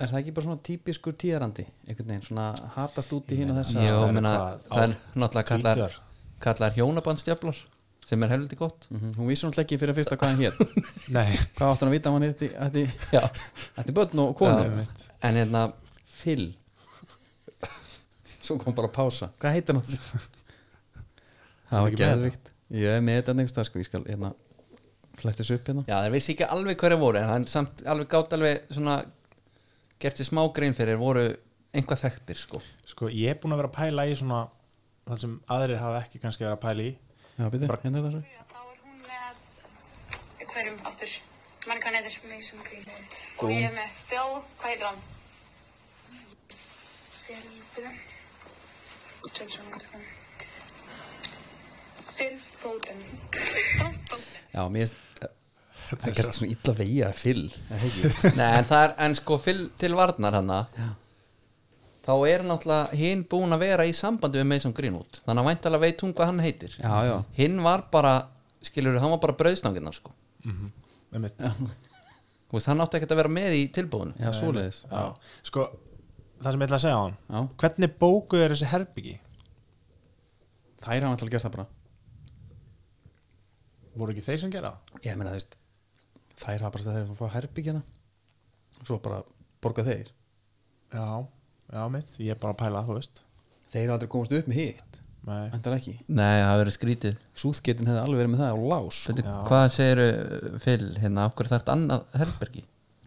A: er það ekki bara svona típiskur tíðarandi einhvern veginn, svona hatast út í hinn og þessa
C: Jó,
B: það er
C: menna,
B: eitthvað
C: það er
B: á
C: náttúrulega kallar,
B: Twitter.
C: kallar hjónabandstjaflar sem er helviti gott
A: Mhm, hún vísir náttúrulega ekki fyrir fyrsta hvað hann hér
B: Nei,
A: hvað átti hann að vita að hann hétti ætti,
C: Já.
A: ætti börn og konu
C: Já. en hérna,
A: Phil svo kom bara pása hvað heitir hann? það var
B: ekki með þetta?
A: geðvikt ég er með þetta nefnst það sko ég skal hérna flættis upp hérna
C: já, þeir vissi ekki alveg hverja voru en hann samt alveg gátt alveg svona gert sér smá grein fyrir voru einhvað þekktir sko
B: sko ég er búin að vera að pæla í svona það sem aðrir hafa ekki kannski verið að pæla í
A: já, byrju, hérna er það svo
D: þá er hún með hverjum aftur mann hvað hann heitir Mason Greenwood og
B: Boom.
D: ég er með Phil, hvað heitir hann? Phil, byrja Johnson, hvað heitir hann? Phil Foden Phil Foden
A: já, mér finnst það er kannski svona illa vegi að Phil er það ekki?
C: Nei, en, það er, en sko fyl, til varnar hann þá er náttúrulega hinn búin að vera í sambandi við Mason Greenwood þannig að væntalega veit hún hvað hann heitir
A: já, já
C: hinn var bara, skilur hann var bara brauðstanginnar sko
B: Einmitt.
C: Þú veist, hann átti ekkert að vera með í tilbúinu
A: já, svoleiðis
B: Já. sko það sem ég ætla að segja á hann
A: Já.
B: hvernig bóku er þessi herbyggi
A: þær hafa alltaf gert það bara
B: voru ekki þeir sem gera það
A: ég meina þú veist þær hafa bara þegar að fá herbyggjana og svo bara borga þeir
B: já, já mitt, ég er bara að pæla þú veist
A: þeir hafa aldrei komast upp með hitt
B: Nei.
A: endar ekki
C: Nei, það verið skrítið
A: súðgetin hefði alveg verið með það á lás
C: Veitu, hvað segiru fyrir hérna, okkur þarf annað herbergi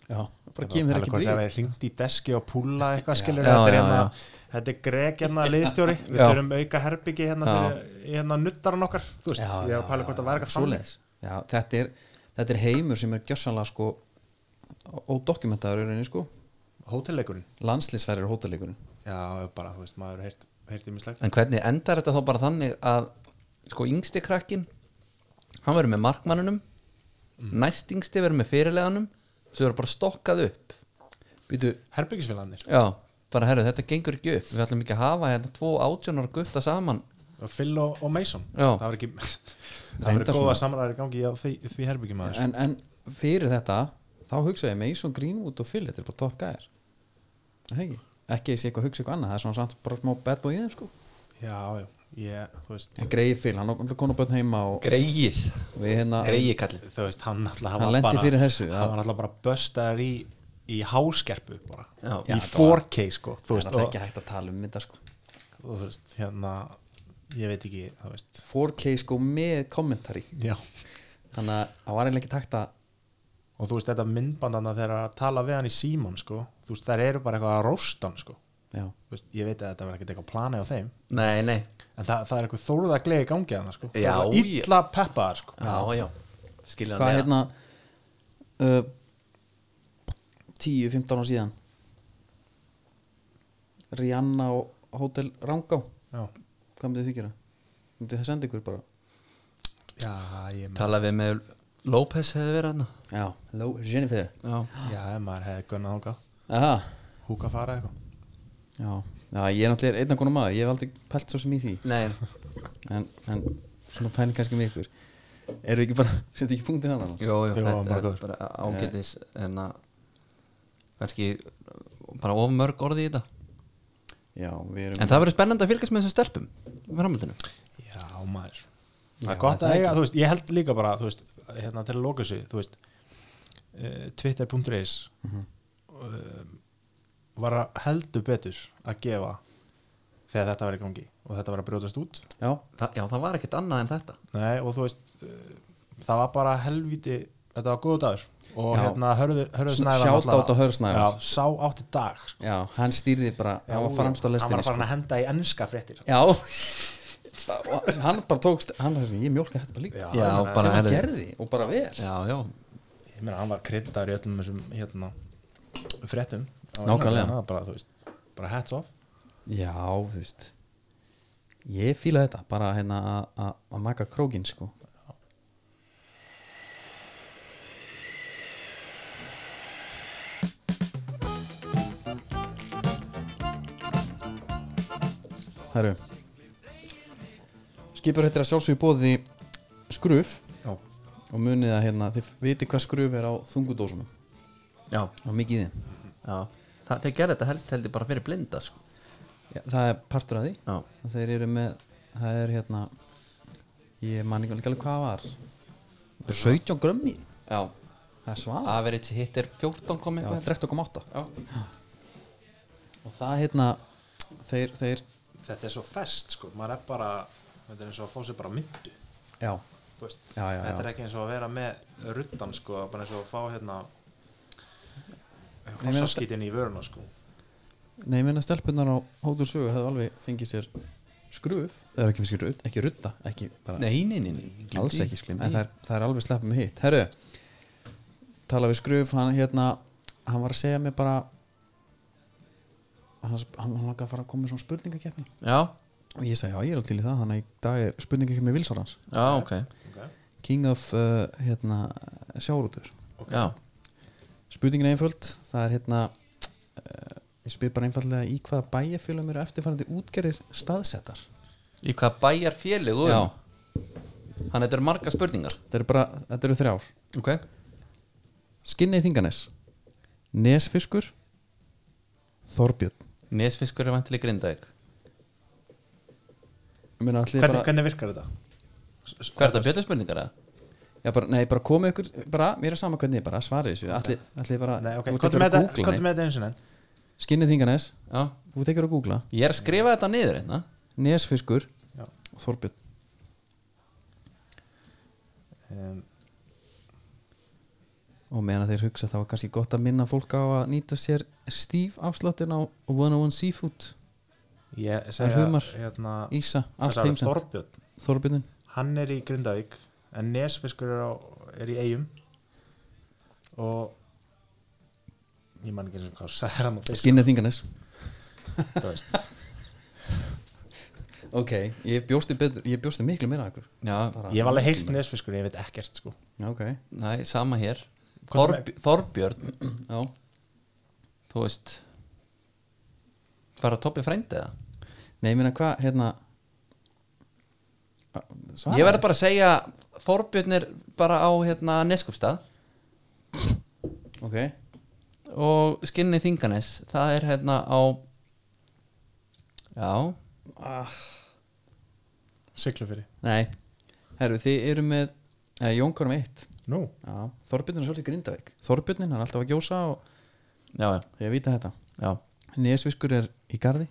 A: já bara kemur þeir
B: Pæla
A: ekki
B: hvort
A: dríf
B: það er hringt í deski og púla eitthvað skilur
C: Já,
B: þetta er
C: já,
B: hérna þetta er Greg hérna liðstjóri við
C: Já.
B: þurfum auka herbyggi hérna fyrir hérna nuttaran okkar þú veist,
A: Já,
B: ég er
A: já,
B: að pæla hvort það væri eitthvað
A: svoleiðis. já þetta er þetta er heimur sem er gjössanlega sko ódokumentaður í rauninni sko
B: hótelleikurinn
A: landslýsferðir hótalíkurinn
B: já, bara þú veist, maður heyrt, heyrt í mislegt
C: En hvernig endar þetta þá bara þannig að sko yngsti krakkin hann verður með markmannunum næst yngsti verður með fyrirleganum svo verður bara stokkað upp
A: býtu
B: herbyggisfélagarnir
C: Já, bara herru, þetta gengur ekki upp við ætlum ekki að hafa hérna tvo átjónar gutta saman
B: og Phil og, og Mason
C: Já.
B: það var ekki það
A: Reyndar
B: var
A: svona.
B: góða samræðir í gangi á því, því herbyggjum aðeins
A: en, en fyrir þetta þá hugsa ég Mason Greenwood og Phil þetta er bara top gæðir ekki ekki að ég sé eitthvað að hugsa eitthvað annað það er svona samt bara smá bad boy í þeim sko
B: já, já, ég, þú veist
A: en greiði Phil hann okkur konu bönn heima og
C: Greið
A: við hérna
C: Greið kallið
B: þú veist, hann alltaf
A: Hann lenti fyrir þessu, já.
B: hann var alltaf bara böstaður í í háskerpu bara
C: Já.
B: í
C: Já,
B: 4K sko
A: það
B: þú
A: er
B: veist,
A: alltaf
B: og,
A: ekki hægt að tala um mynda sko
B: og þú veist, hérna ég veit ekki, þú veist
A: 4K sko með kommentari
B: já.
A: þannig að það var eiginlega ekki takt að
B: og þú veist, þetta myndbandana þegar að tala við hann í síman sko, þú veist, þær eru bara eitthvað að rósta hann sko,
A: já,
B: þú veist, ég veit að þetta var ekkert eitthvað planið á þeim
C: Nei, nei,
B: en það, það er eitthvað þóruða gleði í gangi hann sko,
C: Já,
B: Það er
C: ég-
B: illa peppaðar sko
C: já, já Skilja
A: hvað hérna uh, 10-15 ára síðan Rihanna og Hotel Rangá
B: já,
A: hvað myndið þið gera? myndið það senda ykkur bara
B: já, ég
C: Tala við með López hefði verið hann
A: já, hello Jennifer
C: Já,
B: Já, ef maður hefði gunnað þóka
A: aha
B: Húka fara eitthvað
A: já, já ég er náttúrulega einna konar maður ég hef aldrei pælt svo sem í því
C: nei
A: en, en svona pæling kannski með ykkur eru ekki bara, setja ekki punktið hann
C: Jó,
B: Jó,
C: jó, þetta
B: bara
C: er
B: góður.
C: bara ágætis en að kannski bara of mörg orði í þetta
A: já, við erum
C: en það verður spennandi að fylgjast með þessum stelpum með framhaldinu
B: Já, maður Það
A: Já,
B: er gott
A: það
B: að
A: er
B: eiga, þú veist, ég held líka bara þú veist, hérna til að loka sig, þú veist uh, Twitter.is mm
A: Mhm.
B: var að heldur betur að gefa þegar þetta var í gangi og þetta var að brjótast út
A: já,
C: Þa, já, það var ekkert annað en þetta
B: Nei, og þú veist uh, það var bara helviti þetta var góðu dagur og
A: Já.
B: hérna hörðu, hörðu
A: Svona
B: snæðan
A: shout out á Hörð Snævar.
B: Já, sá átti dag sko.
A: já, hann stýrði bara hann var framst á sko.
B: Hann var
A: lestinni
B: farin að henda í ennska fréttir
A: Já Og Hann bara tókst Hann var þessi, ég mjólka þetta bara líka
B: Já, ég
C: Já,
B: meina,
A: Sem
C: bara
A: hann
C: herðu
A: gerði og bara vel
C: Já, já,
B: ég meina hann var kryddaður í öllum þessum hérna fréttum á
A: Nákvæmlega.
B: Englandi, hann var hérna, bara, þú veist, bara hats off
A: Já, þú veist Ég fíla þetta Bara hérna að- að að maka krókin sko Herru Skipur þetta er að sjálfsögju bóði skruf
B: já,
A: og munið að hérna, þið viti hvað skruf er á þungudósunum
C: já,
A: og mikið í þeim
C: já það, þeir gerðu þetta helst heldur bara fyrir blinda sko.
A: Já, það er partur af því
C: já,
A: og þeir eru með það er hérna ég man ekki alveg hvað var 17 grömmi
C: já,
A: það er svara
C: average hitt er 14 kom
A: já,
C: eitthvað
A: 13,8
C: já,
A: og það hérna þeir, þeir
B: þetta er svo fest sko, maður er bara þetta er eins og að fá sér bara myndu
A: já,
B: þú veist,
A: Já, já,
B: þetta
A: já.
B: er ekki eins og að vera með ruttan sko, bara eins og að fá hérna
A: meina þetta-
B: hossaskítin í vöruna sko
A: nei, minna stelpunar á hótur sögu hefðu alveg fengið sér skruf eða ekki fyrir skruf, ekki rutta ekki bara,
C: nei, nei, nei, nei. gleymdi
A: alls
C: því,
A: ekki
C: gleymdi
A: sklim en
C: því.
A: það er, það er alveg sleppið með hitt herru, tala við skruf hann hérna, hann var að segja mér bara hann, hann langa að fara að koma með svona spurningakefni
C: já,
A: og ég sagði, já, ég er alveg til í það þannig að í dag er spurningakefni vilsárans
C: já, ok,
B: okay.
A: King of uh, hérna, sjárótur
C: já,
A: spurningin er einföld, það er hérna uh, ég spyr bara einfallega í hvaða bæjarfélum eru eftirfarandi útgerðir staðsettar
C: í hvað bæjar um? félug
A: Já.
C: þannig þetta eru marga spurningar
A: þetta eru bara, þetta eru þrjár
C: ok,
A: Skinnið þinganes Nesfiskur Þorbjörn
C: nesfiskur er vantileg grindaðik
A: Meina, ætli
B: hvernig,
A: bara,
B: hvernig virkar þetta?
C: hvað er þetta, bjötu spurningar eða?
A: já, bara, nei, bara komið ykkur bara, mér er sama hvernig bara svarið þessu allir, allir bara,
B: Nei, ok,
A: þú ert
B: hvað
A: ekki að
B: er með þetta-
A: googla
B: hvað er
A: neitt.
B: með þetta eins og enn?
A: Skinnið þinganes,
C: já,
A: þú tekir að googla
C: ég er að skrifa þetta niður hérna. einna
A: Nesfiskur
B: Já.
A: og Þorbjörn
B: Um,
A: og meðan að þeir hugsa þá er kannski gott að minna fólk á að nýta sér stíf afsláttin á 101 Seafood
B: ég
A: Það er
B: segja
A: humar.
B: hérna,
A: Ísa, allt
B: þessar
A: heimsend
B: Þorbjörn,
A: Þorbjörnin,
B: hann er í Grindavík en Nesfiskur er, á, er í Eyjum og ég man ekki eins og hvað sæðir hann á Facebook,
A: Skinnið þinganes
B: þú veist.
A: ok, ég bjósti, betur, ég bjósti miklu meira að ykkur
C: já,
A: Bara-
B: ég hef alveg heilt Nesfiskur, ég veit ekkert sko.
A: ok,
C: Nei, sama hér
B: Hvað er
C: Þorb, Þorbjörn,
A: já
C: þú veist bara Tobbi frændi eða?
A: Nei, ég meina hvað, hérna Ah, Svara
C: Ég verður bara að segja Þorbjörn er bara á hérna, Neskupstað
A: Ok,
C: og skinni Þinganes það er hérna á Já,
A: Ah.
B: siglu fyrir
A: nei Herru, þið eru með eh, Jón Korm 1
B: nú,
A: Já, Þorbjörn er svolítið grindaveik Þorbjörnin, hann er alltaf að gjósa og
C: já, já,
A: ég vita þetta
C: já
A: Nesviskur er í garði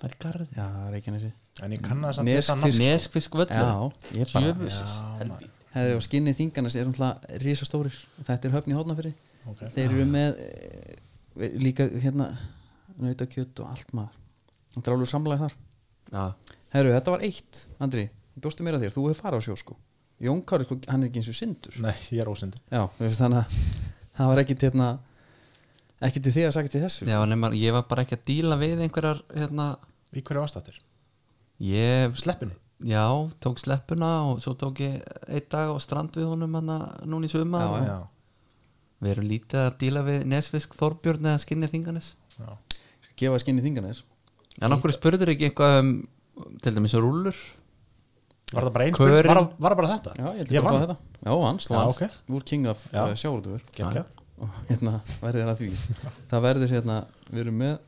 C: Það er garð
A: Já, Reykjanesi
B: en ég kann það samt
A: Nes-
B: þetta nafn, sko.
C: Neskfisk völlur
A: Já, ég bara
C: Sjöfusis
A: Herru, og skinnið þingarnas er náttúrulega risastórir Þetta er höfn í hóðnafyrir
B: Ok.
A: Þeir eru með e, líka hérna nautakjöt og allt maður Það er alveg samlega þar
C: Já,
A: Herru, þetta var eitt, Andri ég Bjóstu mér að þér, þú hefur farið á sjó sko Jón Kári, sko, hann er ekki eins og syndur
B: nei, ég er ósindi
A: Já, þú veist, þannig að það var ekki til hérna, ekki til þig að sagast til þessu
C: já nema, ég var bara ekki að díla við einhverjar hérna,
B: í hverju ástættir?
C: ég
B: sleppinni
C: Já, tók sleppuna og svo tók ég einn dag á strand við honum hana, núna í suma
A: Já,
B: já,
C: Við erum lítið að díla við Nesfisk Þorbjörn eða Skinnir Þinganes
B: já.
A: Gefa skinni þingarnir
C: En okkur spurður ekki eitthvað um til dæmis rúllur
B: var það bara einn
C: Körin-
B: var, það- var það bara þetta?
A: Já, ég held að
B: vann.
A: það þetta Já, hans,
B: Já,
A: hans,
B: ok.
A: úr King of
B: Já.
A: uh, sjáurður
B: Geggjað.
A: Og hérna, verðið er að því Það verður hérna, við erum með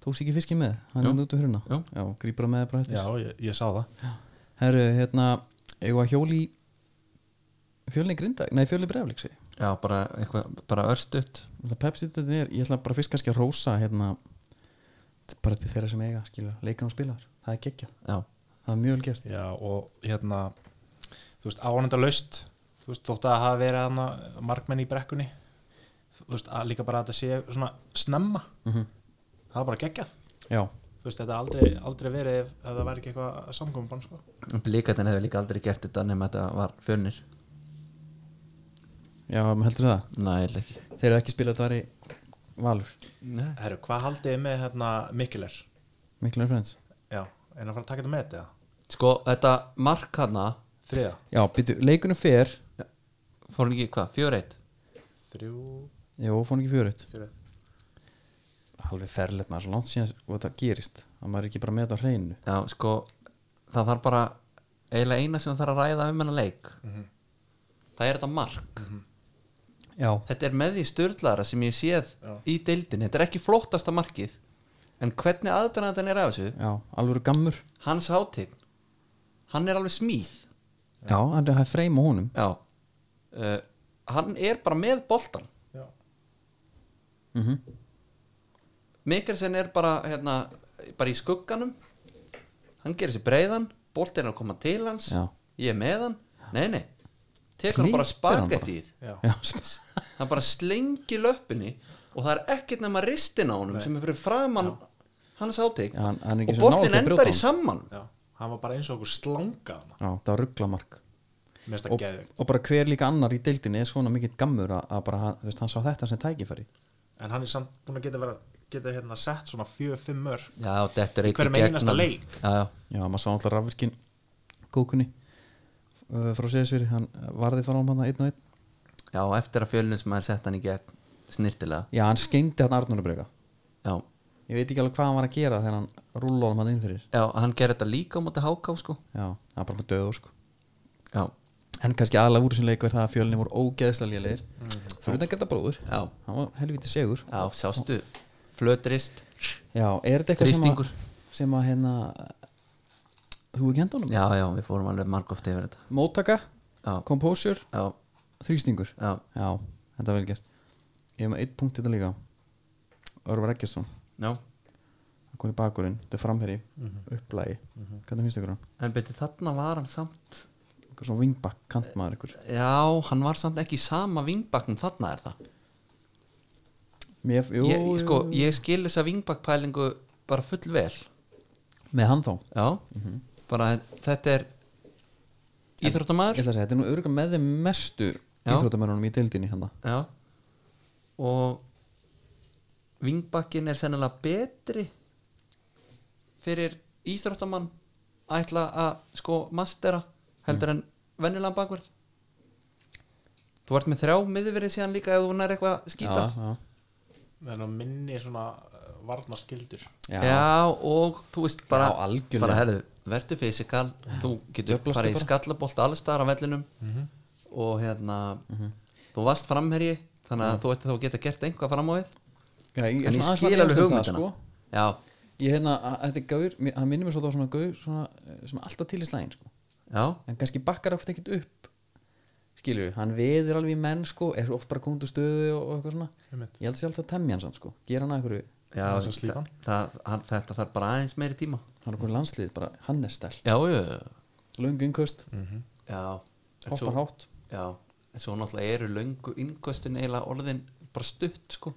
A: Tókst ekki fiski með Hann
C: Jú.
A: er hérna út úr hurna
C: Jú.
A: Já, grípur að með þér bara
B: já,
A: eftir
B: ég, ég sá það
A: Herru, hérna, eigum við að hjóli Fjölni grinda, nei, fjölni brefliksi
C: Já, bara, eitthvað, bara örstutt
A: Það Pepsi þetta er, ég ætla bara fyrst kannski að rósa hérna, t- bara til þeirra sem eiga skilja, leikar og spilar, það er geggjað
C: Já,
A: það er mjög vel gert
B: já, og hérna þú veist, ánenda laust þú veist, þótt að hafa verið hana markmenn í brekkunni þú veist, að líka bara að þetta sé svona snemma
A: Mhm.
B: það var bara geggjað
A: Já,
B: þú veist, þetta er aldrei, aldrei verið ef, ef það væri ekki eitthvað samkomin sko.
C: blíkatin hefur líka aldrei gert þetta nema þetta var fjölnir
A: já, maður heldur það
C: Nei, ég held ekki
A: Þeir eru ekki spilað þetta var í Valur
C: Nei.
B: Herru, hvað haldið þið með hérna Mikkeler?
A: Miklu er frends
B: Já, er hann að fara að taka þetta með þetta? eða?
C: Sko, þetta mark hana
B: Þriða?
A: Já, býtu, leikunum fer
C: fór hann ekki hvað, fjör eitt
B: Þrjú,
A: Jó, fór hann ekki fjörut
B: fjöru
A: Halveg ferlegt maður, svo langt síðan og það gerist að maður er ekki bara með þetta á hreinu
C: Já, sko, það þarf bara Mhm. eiginlega eina sem það þarf að ræða um hennar leik Það er þetta mark
A: já,
C: þetta er með því störðlara sem ég séð
B: Já.
C: í deildin, þetta er ekki flottasta markið en hvernig aðdæðan er af þessu
A: já, alveg gammur
C: hans hátign, hann er alveg smíð
A: já, hann er það er freyma honum
C: já uh, hann er bara með boltan
B: Já.
C: Mikkelsen er bara hérna, bara í skugganum hann gerir sér breiðan boltin er að koma til hans
A: Já.
C: ég er með hann, nei nei tekur hann bara
A: Klippir hann bara.
C: spagettið
B: Já.
A: já, sp-
C: hann bara slengir löppinni og það er ekkert nema ristin á honum sem er fyrir framann hans átík
A: Já, hann- hann er ekki
C: og
A: svo nálægt
C: boltin
A: að brjóta
C: endar í
A: hann.
C: saman
B: Já. hann var bara eins og okkur slangað hana.
A: já, það var rugglamark
B: mér finnst
A: og,
B: það geðvegt
A: og bara hver líka annar í deildinni er svona mikill gammur að, að bara, hann- þú veist, hann sá þetta sem tækifæri
B: en hann er samt búin að geta, vera, geta hérna, sett svona fjö-fimm mörg
C: já, þetta er
B: Í hverjum
C: gegn
B: einasta
C: hann.
B: leik.
C: já, já.
A: já, maður sá alltaf rafvirkinn kókunni uh, frá Sesfyrir, hann uh, varði frá hann einn og einn
C: já, eftir að fjölnins maður sett hann í gegn snirtilega
A: já, hann skeindi hann Arnórubrega
C: já,
A: ég veit ekki alveg hvað hann var að gera þegar hann rúla hann inn fyrir
C: já hann gerir þetta líka á móti háká sko
A: já, það var bara með döðu sko
C: já,
A: en kannski aðlega úr þessum leik var það að fjölni voru ógeðslega lélegir fyrir þetta geta bróður
C: Mhm. já,
A: hann var helvítið segur
C: já, sástu flötrist,
A: já, er þetta eitthvað sem
C: Þrýstingur.
A: að, sem að hérna þú ekki hendur honum?
C: já, já, við fórum alveg margóft yfir þetta
A: móttaka,
C: Já.
A: composure,
C: já,
A: þrýstingur
C: já,
A: já, þetta er vel gert ég hef með eitt punkt þetta líka Örvar Eggertsson,
C: já
A: hann kom í bakurinn þetta er framherri, upplægi hvernig finnst ykkur hann?
C: en betur þarna var hann samt
A: eitthvað svona vingbakk, kantmaður ykkur
C: já, hann var samt ekki í sama vingbaknum þarna er það
A: Mér, jú,
C: ég, ég- sko,
A: jú,
C: ég skil þessa vingbakpælingu bara full vel
A: jú. með hann þá
C: já, bara þetta er
A: ég
C: íþróttamæður
A: ætla að segja, þetta er nú örgulega með þeim mestu
C: Já.
A: íþróttamörunum í deildinni hérna. hann
C: já og vingbakkin er sennilega betri fyrir íþróttamann að ætla að sko mastera
A: Mhm.
C: heldur en venjulega bakverð þú vart með þrjá miðverið síðan líka ef þú nær eitthvað skýta
A: já,
B: þannig að minni svona eh, varnarskildur
A: já.
C: og þú veist bara,
A: Já, algjörlega.
C: bara herðu, verður fysikal þú getur
A: Djöflastu
C: farið í
A: bara.
C: skallabolt allstar af vellinum
A: Mhm.
C: og hérna þú varst framherji þannig að þú ætti þá að geta gert einhvað fram á við
A: Já, Mhm. ég,
C: en ég
A: svona aðeins
C: skil
A: var
C: alveg
A: efast um það,
C: hugmyndina
A: sko.
C: já,
A: ég hérna, að- þetta er gaur, mér- hann minnir mér svo þá svona gaur svona, eh, sem er alltaf til í slæðin sko.
C: já,
A: en kannski bakkar oft ekkert upp skilur, hann veður alveg í menn sko, er oft bara komið úr stöðu og, og eitthvað svona
B: Einmitt.
A: ég held sér alltaf að temja hann samt sko, gera hann að einhverju
C: já
B: Það er svo slípan.
C: þa- það, hann, þetta þarf bara aðeins meiri tíma
A: hann er okkur landslið, bara Hannestæl
C: já, já,
A: löngu innköst,
B: Mm.
C: já En
A: hoppar
C: svo,
A: hátt
C: já, en svo náttúrulega eru löngu innköstin eiginlega orðin bara stutt sko,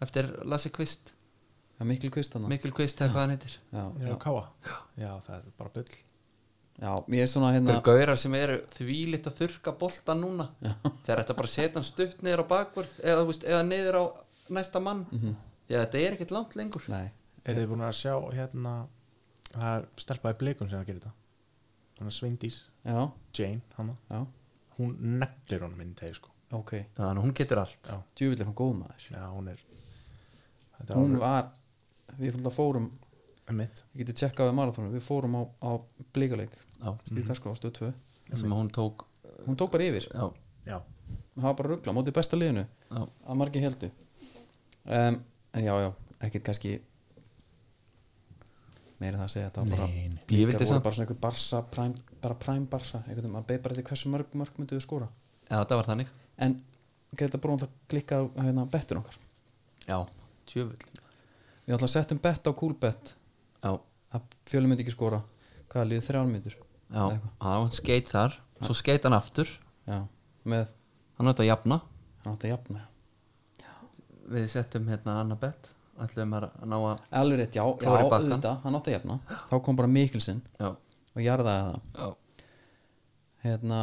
C: eftir Lasse Kvist
A: það er mikil kvist hann
C: Mikkel Kvist eða hvað hann heitir
A: já,
B: já,
A: já.
B: káa já, það er bara bull
A: já, mér er svona
C: Það
A: hérna
C: eru gaurar sem eru þvílitt að þurka bolta núna Þegar þetta bara að setja hann stutt niður á bakvörð eða, þú veist, eða niður á næsta mann mm þetta er ekkert langt lengur
A: nei,
B: er þið búin að sjá hérna það er stelpaði blikun sem að gera þetta hann er Sveindís,
A: já,
B: Jane hana.
A: já,
B: hún neglir honum inn í tegi sko
A: ok
C: Þannig að hún getur allt
B: Já.
A: djúvill er hann góð maður
B: já, hún er þetta
A: hún
B: er
A: var, við fórum fórum
B: alveg mitt
A: ég geti tjekkað við marathónu, við fórum á, á blíkaleik,
C: Já.
A: Stíf Terskó á stöð 2
C: sem að hún tók
A: hún tók bara yfir,
C: Já,
B: já,
A: það var bara ruggla á móti besta liðinu,
C: já,
A: að margir heldu um, en já, já, ekkert kannski meira það að segja þetta var bara,
B: Nei, nei.
C: Ég vildi
A: Blikar voru
C: samt-
A: bara svona einhver barsa prime, bara prime barsa, einhvern veginn, maður beið bara til hversu mörg mörg mynduðu skóra,
C: já það var þannig
A: en Greta Brón það klikka á hérna bettun okkar
C: Já, tjöfull
A: við ætla að settum bett á kúlbett
C: Já,
A: að fjölu myndi ekki skóra hvaða liðið þrjár myndur
C: já, já hún skeit þar Svo skeit hann aftur
A: já, með,
C: Hann átti að jafna
A: hann átti að jafna já.
C: Við settum hérna Annabeth Ætluðum að ná að
A: alveg rétt, já, já
C: Klár í bakkann.
A: auðvitað, hann átti að jafna þá kom bara Mikkelsen
C: Já,
A: og jarðaði það
C: já,
A: hérna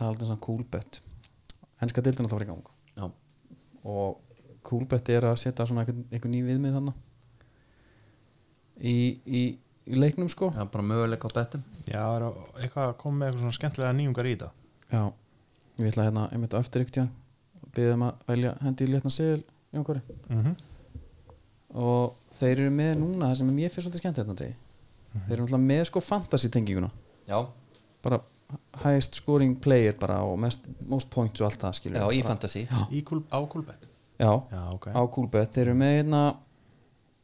A: talaði um svona kúlbett henska dildin alltaf var í gang
C: já,
A: og kúlbett er að setja svona einhvern, einhvern ný viðmið þannig í, í, í leiknum sko
C: já bara möguleika á betum
B: já, það er eitthvað að koma með eitthvað svona skemmtilega nýjungar í þetta
A: já, ég ætla hérna einmitt á eftir ykti byggðum um að velja hendi í létna segil Jónkori
B: mm -hmm.
A: og þeir eru með núna það sem mér finnst svolítið skemmt hérna Andrei þeir eru náttúrulega með sko fantasy tenginguna
C: Já,
A: bara highest scoring player bara og mest, most points og allt það skilur
C: já,
A: við.
C: í
A: Bara-
C: fantasy
B: Í kúl, á kúlbett
A: já,
B: Já, ok
A: á Coolbet, þeir eru með hérna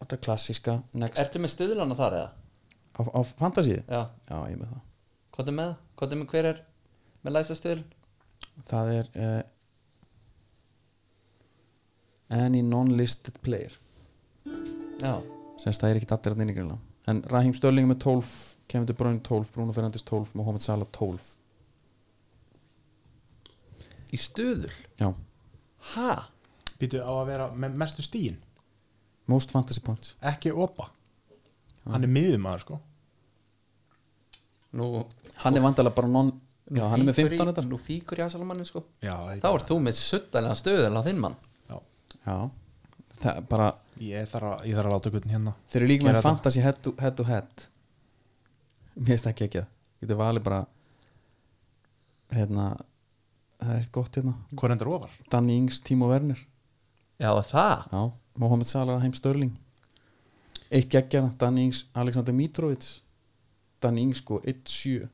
A: þetta klassíska next
C: Ertu með stuðlana þar eða?
A: á, á fantasíu,
C: Já,
A: já ég er með það
C: hvað er með það? Hvað er með hver er með læsta stuðl?
A: það er uh, any non-listed player
C: Já,
A: semst það er ekkit allir að nýningarlega en Raheem Stölling með 12 Kevin De Bruyne 12, Bruno Fernandes 12 Mohamed Salah 12
C: í stuðl?
A: já,
C: Ha?
B: Býtu á að vera með mestu stíin
A: most fantasy points
B: Ekki opa Hann er miðum aður sko
C: Nú,
A: hann er vandalega bara non já, hann er með 15 þetta
C: Nú fíkur í aðsalamannin sko
B: Já,
C: Þá ert þú með suttalega stuðl á þinn mann
B: Já.
A: já, það er bara
B: Ég þarf að, ég þarf að láta guttin hérna
A: þeir eru líka með
B: Gera þetta.
A: fantasy head to head, to head. mér finnst ekki ekki það getur valið bara hérna það er eitt gott hérna
B: Hvor endur ofar?
A: Danny Ings, Timo Werner
C: Já, það
A: já, Mohamed Salah, Heim Störling eitt geggjana, Danny Ings Alexander Mitrovic Danny Ings sko, 1-7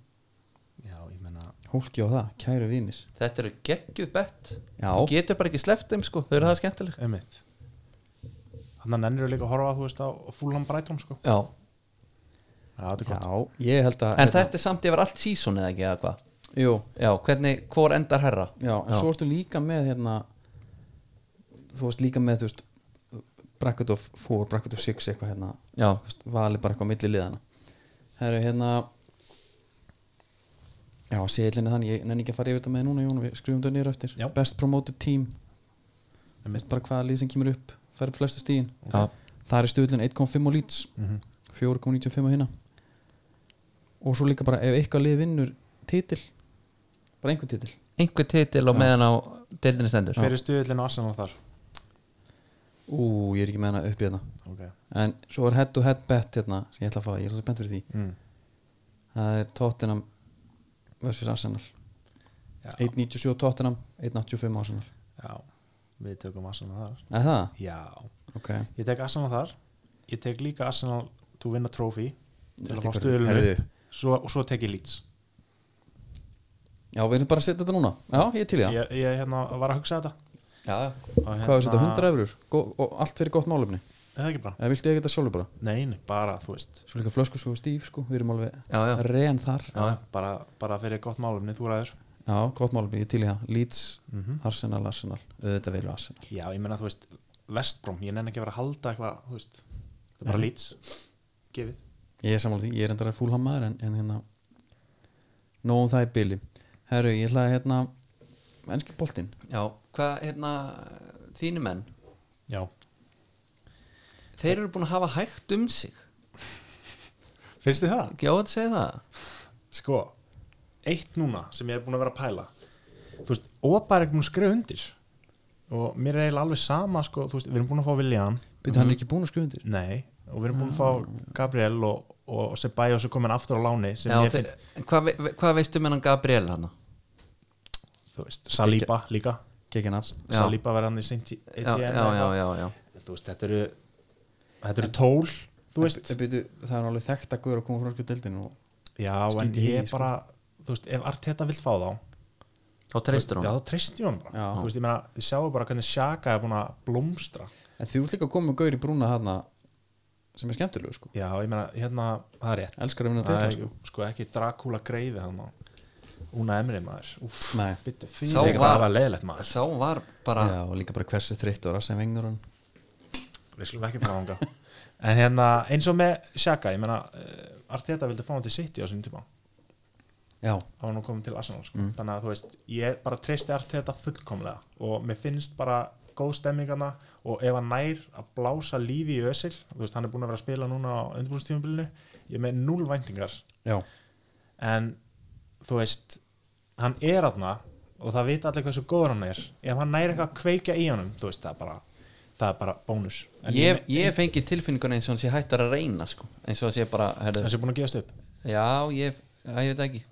B: Já, ég menna
A: hólki á það, kæru vinnir
C: Þetta eru geggjuð bett
A: Já.
C: Þú getur bara ekki sleppt þeim sko Þau eru það skemmtileg
B: Einmitt Þannig að nennir líka að horfa þú veist á Fulham Brighton sko
C: Já
B: Já, þetta er
A: já,
B: gott
A: ég held að
C: En þetta er samt yfir allt sísón eða ekki eða hvað
A: jú,
C: Já, hvernig, hvor endar herra
A: já, en svo ertu líka með hérna þú veist líka með þú veist bracket of 4, bracket of 6 eitthvað hérna
C: Já,
A: Veist, valið bara eitthvað á milli liðana það eru hérna já, séðlinni þannig ég nenni ekki að fara yfir þetta með núna Jón við skrifum þetta nýra eftir
B: Já.
A: best promoted team
B: Einmitt.
A: bara hvaða lið sem kemur upp færði flestu stíðin
C: já,
A: það er stöðlun 1.5 og lít
B: Mhm.
A: 4.95 og hinna og svo líka bara ef eitthvað lið vinnur titil bara einhver titil
C: einhver titil og meðan á deildinni stendur
B: Hver er stuðullin Arsenal þar?
A: ú, ég er ekki með hana upp í þetta
B: Ok
A: en svo er head to head bet hérna sem ég ætla að fá, ég er svo spennt fyrir því
B: mm.
A: það er Tottenham versus Arsenal
B: Já.
A: 1.97 Tottenham 1.85 Arsenal
B: Já, við tökum Arsenal þar
A: Er það?
B: Já,
A: Ok
B: ég tek Arsenal þar Ég tek líka Arsenal to win a trophy Til að
A: Þetta
B: fá
A: er
B: stuðullin
A: Herðu.
B: upp svo, Og svo tek ég Leeds
A: Já, við erum bara að setja þetta núna Já, ég er til í það
B: ég, ég hérna, var að hugsa þetta
C: Já, já,
B: og, hérna,
A: Hvað er þetta? 100 eurur? Gó- Og allt fyrir gott málefni
B: Er það ekki bara?
A: Eða viltu ég þetta sjálfur bara?
B: Nei, nei, bara, þú veist
A: Svo líka flösku svo stíf sko Við erum alveg
C: Já, já.
A: ren þar Já,
B: bara, bara fyrir gott málumni, þú ræður
A: gott málefni, ég er til í það Leeds, Arsenal, Arsenal Þetta verður Arsenal
B: Já, ég meina, þú veist, Vestbrom ég nenni ekki að vera að halda eitthvað, þú veist Það er bara Leeds Gefið
A: Ég er sammála því, ég er endara fúlhammaður en, en hérna Nóum það er billi Herru, ég ætla að hérna Ennski boltinn
C: já Hvað, hérna, þínu menn
B: Já,
C: Þeir eru búin að hafa hægt um sig
B: finnst þið það?
C: Ekki á að segja það
B: Sko, eitt núna sem ég er búin að vera að pæla Þú veist, Opa er ekki búin að skrifa undir og mér er eiginlega alveg sama sko, þú veist, við erum búin að fá Viljan
A: Byrðu, hann er ekki búin að skrifa undir
B: Nei, og við erum búin að fá Gabriel og, og Sebæja og svo komin aftur á láni sem
C: já,
B: ég finn,
C: þeir, en hvað, ve- ve- hvað veistu með hann Gabriel hana?
B: þú veist, Saliba líka
A: Kekja nafs
C: Já.
B: Saliba verða hann í Saint Etienne
C: Já, já, já, já, já
B: þú veist, þetta eru þetta eru tól, þú veist
A: En byrju, Það er alveg þekkt að guður að koma frá sko deildinu og
B: já, en
A: Skítið í,
B: ég
A: sko.
B: bara, þú veist, ef Arteta vill fá þá
C: Þá treystur
B: já,
C: hann
B: þá treysti hún bara,
A: Já.
B: þú veist, ég meina þið sjáu bara hvernig Sjaka er búin að blómstra
A: En þú ert líka að koma með gaur í brúna hana sem er skemmtilegu sko
B: já, ég meina, hérna, það er rétt
A: Elskar að vinna
B: það
A: deildina
B: er
A: sko
B: sko ekki Dracula greiði hann Úna Emri maður, úff,
A: Nei.
B: byttu
C: Sá
B: fyrir
C: var-
B: það var leiðilegt maður
C: Sá var bara
A: Já, og líka bara hversu þreytt og rassin vengur hann
B: við slum ekki fara ánga en hérna, eins og með Sjaka, ég meina uh, Arteta vildi fá hann til City á sinni tíma
A: Já,
B: þá var nú komin til Arsenal sko. þannig að þú veist, ég bara treysti Arteta fullkomlega og mér finnst bara góð stemmingana og ef hann nær að blása lífi í Ösil þú veist, hann er búin að vera að spila núna á undirbúinstífumbilinu ég er með núl væntingar
A: já,
B: en þú veist, hann er aðna og það vita allir hversu góður hann er ef hann nær eitthvað að kveika í honum þú veist, það er bara, það er bara bónus En
C: Ég, ég fengi tilfinninguna eins og hann sé hættur að reyna sko. eins og hann sé bara
B: me-
C: herri,
B: þessi er búin að gefast upp
C: Já, ég, já, ég veit ekki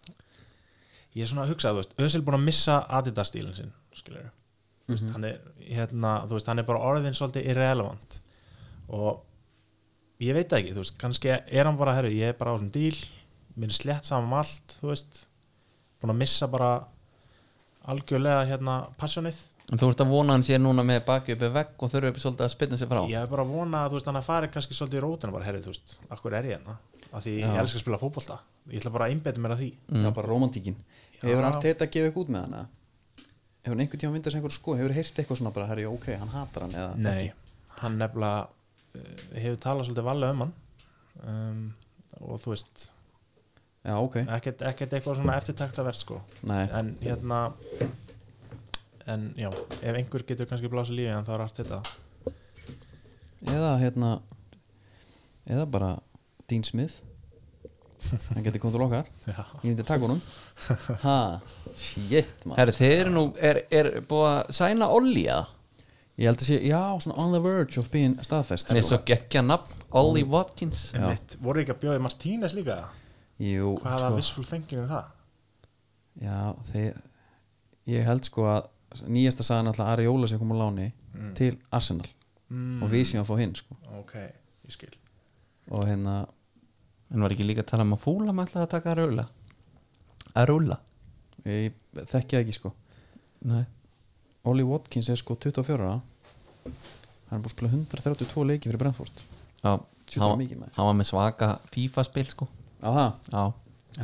B: ég er svona að hugsa, þú veist, Özil er búin að missa Adidas stílinn sinn, skilur mm -hmm. hann er, hérna, þú veist, hann er bara orðin svolítið irrelevant og ég veit það ekki, þú veist, kannski er hann bara, herru, ég er bara á þessum díl mér er slett saman um allt, þú veist búin að missa bara algjörlega hérna passjónið
C: En þú ert að vona hann sé núna með baki uppi vegg og þurfi svolítið að spilna sér frá
B: ég hef bara að vona að þú veist hann að fari kannski svolítið í rótina bara herrið þú veist, akkur er ég hérna af því ég elska að spila fótbolta ég ætla bara að einbeta mér að því
A: það er bara romantíkin hefur allt þetta að gefa eitthvað út með hana hefur hann einhvern tíma myndast einhver sko hefur heyrt eitthvað svona bara, herri, ok, hann hatar hann eða
B: Nei, hann nefnilega uh, hefur talað svolítið valega um hann um, og þú veist
A: já, ok,
B: ekkert, ekkert eitthvað svona eftirtaktavert sko
A: Nei.
B: en hérna en já, ef einhver getur kannski blása lífi en þá er allt þetta
A: eða hérna eða bara Dean Smith hann getur komið til okkar
B: Já.
A: ég myndi að taka honum ha, shit man
C: Herri, þeir eru nú, er, er búið að sæna Olli að
A: ég held að sé, já, svona on the verge of being staðfest sko.
C: Nei, svo geggja nafn, Olli
B: Mm.
C: Watkins
A: Já.
B: Einmitt, voru ekki að bjóði Martínez líka
A: Jú,
B: hvaða
A: sko.
B: sko. vissful thinking er það
A: Já, þeir, ég held sko að nýjasta sagan alltaf Ari Jóla sem kom á láni til Arsenal og við séum að fá hinn sko.
B: ok, ég skil
A: og hérna,
C: En var ekki líka að tala um að fúla með alltaf að taka að rúla Að rúla
A: ég þekki það ekki sko
C: Nei
A: Ollie Watkins er sko 24 ára. hann er búin að spila 132 leiki fyrir Brentford
C: Já,
A: Sjúklega
C: hann,
A: mikið, maður.
C: hann var með svaka FIFA spil sko
A: á það,
C: Já,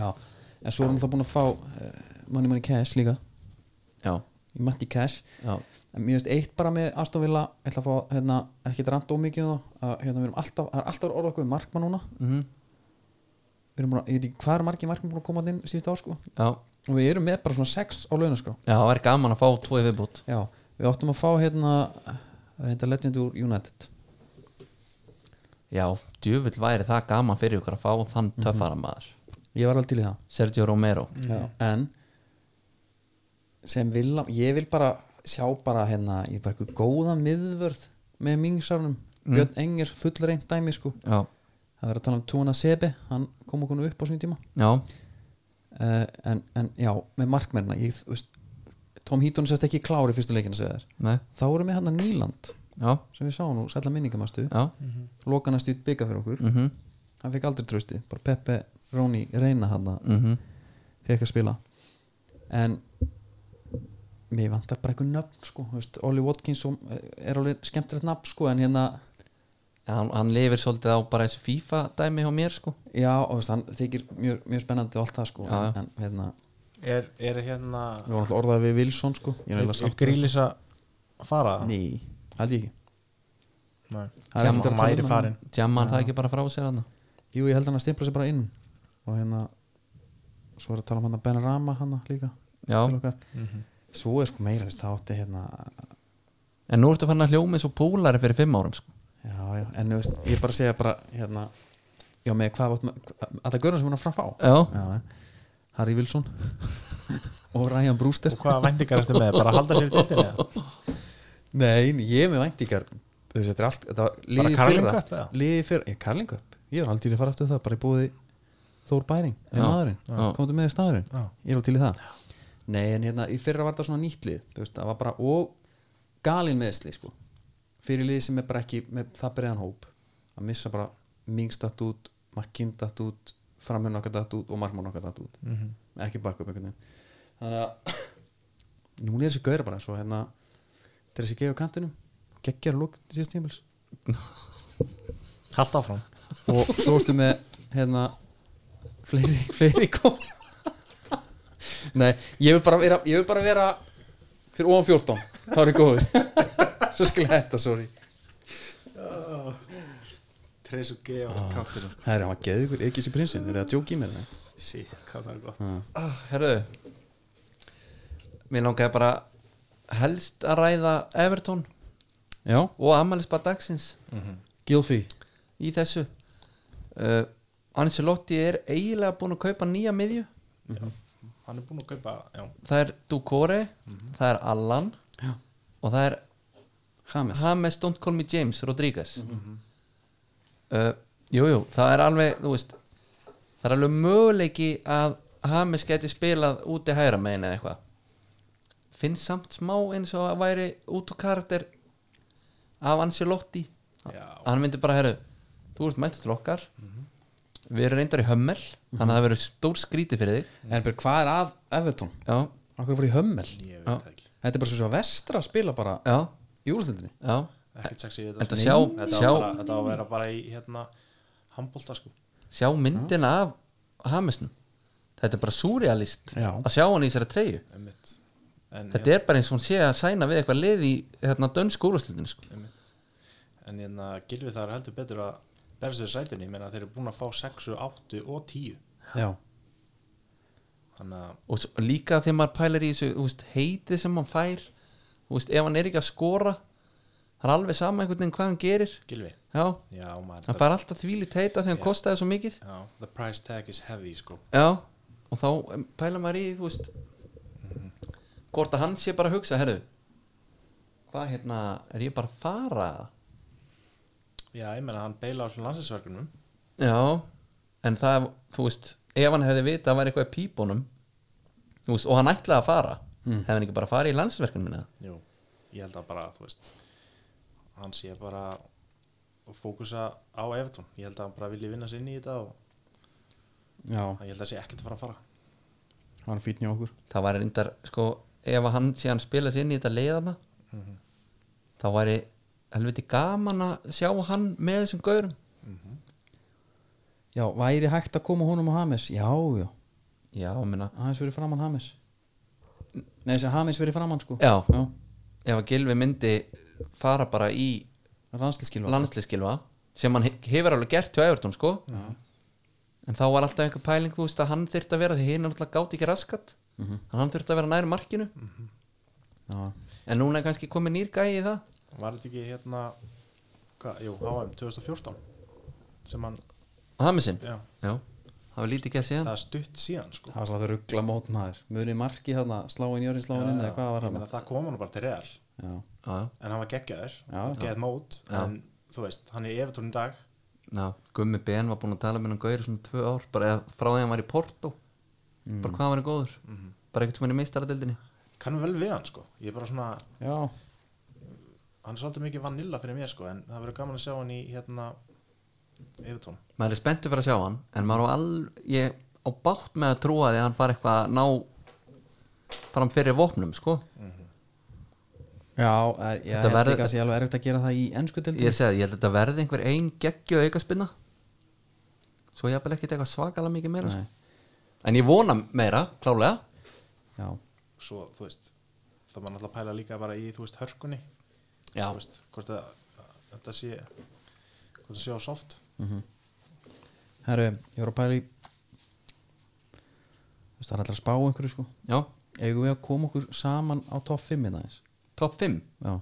A: já en svo er hann alltaf búin að fá uh, Money Money Cash líka
C: já,
A: í Matti Cash
C: já
A: en mér finnst eitt bara með Aston Villa ég ætla að fá, hérna, ekki rand ómikið um það að hérna, við erum alltaf, það er alltaf orða okkur markmann núna
C: mm
A: við erum bara, ég veit ekki hvað er margir markmann búin að koma þarna inn síðustu ár sko
C: Já,
A: og við erum með bara svona sex á launaskrá
C: já, það væri gaman að fá tvo í viðbútt
A: já, við áttum að fá hérna reynda legend úr United
C: Já, djöfull væri það gaman fyrir ykkur að fá þann töffara maður
A: ég var alveg til í það
C: Sergio Romero
A: en sem vil, ég vil bara sjá bara hérna, ég er bara eitthvað góða miðvörð með mingsarnum Björn Engers fullreint dæmi sko
C: Já,
A: það verður að tala um Tuna Sebe, hann kom okkur nú upp á svona tíma
C: já,
A: uh, en, en já, með markmennina ég, þú veist, Tom Heaton sérst ekki klári í fyrstu leikina segir þær.
C: nei,
A: þá erum við hérna Nýland
C: já,
A: sem við sáum nú, sætla minningamastu
C: já
A: lokan að stýtt byggja fyrir okkur
C: mm -hmm.
A: hann fekk aldrei trösti, bara Peppe Róni reyna hann að
C: mhm.
A: fekk að spila en mér vantar bara eitthvað nöfn sko, þú veist, Ollie Watkins og- eh, er alveg skemmtilegt nafn sko, en hérna
C: Hann, hann lifir svolítið á bara þessu FIFA dæmi hjá mér sko
A: já, og þú veist, hann þykir mjög, mjög spennandi og allt það sko,
C: Já, já.
A: en, en hérna
B: er, er hérna
A: við varum alltaf orðað við Wilson sko ég er
B: er,
A: eiginlega
B: er
A: sátt
B: grílis að fara
A: ný, held ég ekki
B: Nei.
A: Það er
B: Hann
A: ekkert að tala um
B: væri
A: hann.
B: farin
C: Tjama hann það ekki bara frá sér hann
A: jú, ég held hann að stimpla sig bara inn og hérna svo er að tala um hann að Ben Rama hann líka
C: Já,
A: til okkar svo er sko meira, þú veist, það átti hérna
C: en nú ertu fann að hljóma eins og púlari fyrir fimm árum sko
A: Já, já, en þú veist, ég er bara að segja bara hérna, já með hvað átt að það görðum sem hann er frá fá
C: Já,
A: já, Harry Wilson og Ryan Brewster
B: og hvaða vendingar eftir með, bara að halda sér í dildinni eða?
A: Nei, nei, ég er með væntingar þú veist, þetta er allt, þetta var liðið
B: Carling
A: fyrra
B: Cup, eða?
A: liðið fyrra, ég Carling Cup ég er alveg til í að fara eftir það, bara ég búið Þór Bæring,
C: Já,
A: með maðurinn,
C: já.
A: komdu með í staðurinn
B: Já.
A: ég er alveg til í það Nei, en hérna, í fyrra var þetta svona nýtt lið þú veist, það var bara, og galin meðsli sko, fyrir lið sem er bara ekki með það breiðan hóp að missa bara mingstatt út, makkindatt út framhjörn okkar datt út og markmann okkar datt út
B: Mhm.
A: mm -hmm. ekki bakka upp einhvern veginn þannig að núna er þessi gauður bara svo hérna til þessi gefa kantinum geggjar lúk síðast tímils
B: halda áfram
A: og svo ertu með hérna fleiri, fleiri kom nei, ég vil bara vera ég vil bara vera fyrir ofan 14 þá er ég góður svo skil ég hætta, sorry
B: Tres og geða á kantinum
A: Ah, það er hann að geða ykkur, ekki þessi prinsinn, er það að djóki með það
B: Shit, hvað það er gott
C: ah, herðu Mér langaði bara helst að ræða Everton
A: já,
C: og Amalisbar dagsins
A: Gilfi
C: í þessu uh, Ancelotti er eiginlega búin að kaupa nýja miðju
B: Hann er búinn að kaupa, já
C: það er Ducore, það er Allan
A: Já.
C: og það er
A: James
C: James Don't Call Me James Rodríguez uh, Jújú, jú, það er alveg þú veist, það er alveg möguleiki að James geti spilað úti hægra megin eða eitthvað finnst samt smá eins og að væri út og karakter af Ancelotti
B: Já.
C: hann myndi bara herru, þú ert mættur til okkar við erum reyndar í hömmel þannig að það verður stór skríti fyrir þig
A: En byrju, hvað er að Everton?
C: já,
A: Akkur fór í hömmel
B: ég veit
C: Já.
B: það ekki
A: Þetta er bara svo vestra að spila bara
C: já,
A: í úrstildinni
C: já
B: ekkert sexy við
C: Þetta
B: Nei.
C: sjá-
B: þetta,
C: sjá-
B: á bara, þetta á að vera bara í hérna handbólta sko
C: sjá myndina af Hamisnum þetta er bara surrealist
A: Já.
C: að sjá hann í þessari treyju
B: einmitt. en,
C: þetta er bara eins og hún sé að sæna við eitthvað lið í hérna dönsk úrvastildinu sko.
B: einmitt. en hérna gilfi það er heldur betur að berða sér sætunni, ég meina þeir eru búin að fá 6, 8 og 10
A: Já,
B: þannig að
C: og svo- líka þegar maður pælar í þessu þú veist, heitið sem hann fær þú veist, ef hann er ekki að skora það er alveg sama einhvern veginn hvað hann gerir
B: gilfi
C: já,
B: já, maður,
C: hann fær alltaf þvílít heita þegar hann
B: Já.
C: kostaði svo mikið
B: já, the price tag is heavy sko
C: já, og þá em, pælar maður í þú veist hvort að hann sé bara að hugsa, herru hvað hérna, er ég bara að fara
B: já, ég meina hann beila á svona landsinsverkunum
C: já, en það þú veist, ef hann hefði vita að væri eitthvað í pípunum þú veist, og hann ætlaði að fara hefði hann ekki bara að fara í landsverkinu minna
B: Jú, ég held að bara, þú veist hann sé bara að fókusa á Evertón ég held að hann bara vilji vinna sér inn í þetta og
A: já,
B: ég held að sé ekkert að fara að fara
A: það var fítni á okkur
C: það var reyndar sko, ef að hann síðan spila sig inn í þetta leiðana þá væri helviti gaman að sjá hann með þessum gaurum
A: Já, væri hægt að koma honum á Hames? Já, já,
C: já, minna,
A: aðeins verið framann Hames Nei, þessi Hames verið framann sko
C: Já.
A: já.
C: ef að Gilvi myndi fara bara í
A: Landslískilva
C: landsliðskilva sem hann he- hefur alveg gert hjá Evertón sko en þá var alltaf einhver pæling þú veist að hann þyrfti að vera því hinn alltaf gáti ekki raskat
B: Mhm.
C: en hann þyrfti að vera næri markinu
B: Mm.
A: Já,
C: en núna er kannski komið nýr gæi í það
B: Var þetta ekki hérna hva, Jú, HM 2014 sem hann,
C: Hamisinn,
B: já,
C: já, það var lítið gert síðan
B: það er stutt síðan sko
A: það var svolítið ruggla mót maður Munið marki þarna, sláin Jörgin, sláin inn eða hvað var
B: Ég
A: þarna
B: meina, það kom hann bara til real
A: Já,
C: já, já,
B: en hann var geggjaður,
A: Já.
B: geggjaður mót
C: Já.
B: en þú veist, hann er í Evertón í dag
C: já, Gummi Ben var búin að tala um með hann gauður svona tvö ár, bara eða frá því að hann var í Porto
B: Mm.
C: bara hvað hann var í góður
B: Mhm.
C: bara ekkert sem hann í meistaradeldinni
B: kannum vel við hann sko, ég er bara svona
A: já,
B: hann er svolítið mikið vanilla fyrir mér sko en það verður gaman að sjá hann í hérna Evertón
C: maður er spenntur fyrir að sjá hann en maður á all, ég á bátt með að trúa því að hann fari eitthvað að ná fram fyrir vopnum, sko
A: já er, ég
C: Þetta
A: held
C: verður-
A: ekki að sé alveg erfitt að gera það í ennsku
C: ég er
A: dildinni
C: að segja, ég held að þetta verði einhver ein geggjöð aukaspinna svo ég hafði ekkert eitthvað svakalega mikið meira sko.
A: Nei,
C: en ég vona meira, klálega
A: já,
B: svo þú veist það var náttúrulega að pæla líka bara í þú veist hörkunni
C: já,
B: þú veist hvort að, að þetta sé hvort það sé á soft
A: herru, ég voru að pæla í Þú veist, Það er alltaf að spá einhverju sko
C: já,
A: Eigum við að koma okkur saman á topp 5 í aðeins
C: top 5
A: Já,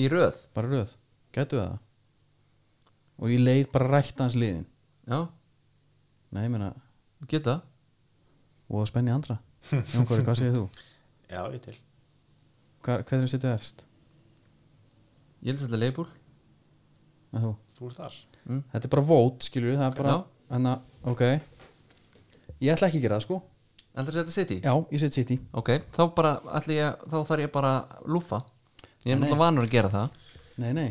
C: í röð,
A: bara röð, gætu við það Og ég leið bara rætt hans liðin
C: já,
A: Nei, ég meina,
C: geta
A: og að spenni andra Jón Kori, hvað segir þú?
B: já ég til
A: Hva, Hvernig setið efst?
C: ég held að þetta leifbúl
A: En þú?
B: þú ert þar
A: Þetta er bara vót, skilur við, það er bara
C: Já.
A: Þannig að, ok Ég ætla ekki að gera það, sko
C: heldur þetta City?
A: Já, ég set City
C: ok, þá bara, ætli ég, þá þarf ég bara að lúfa, ég er
A: Nei.
C: náttúrulega vanur að gera það
A: Nei, nei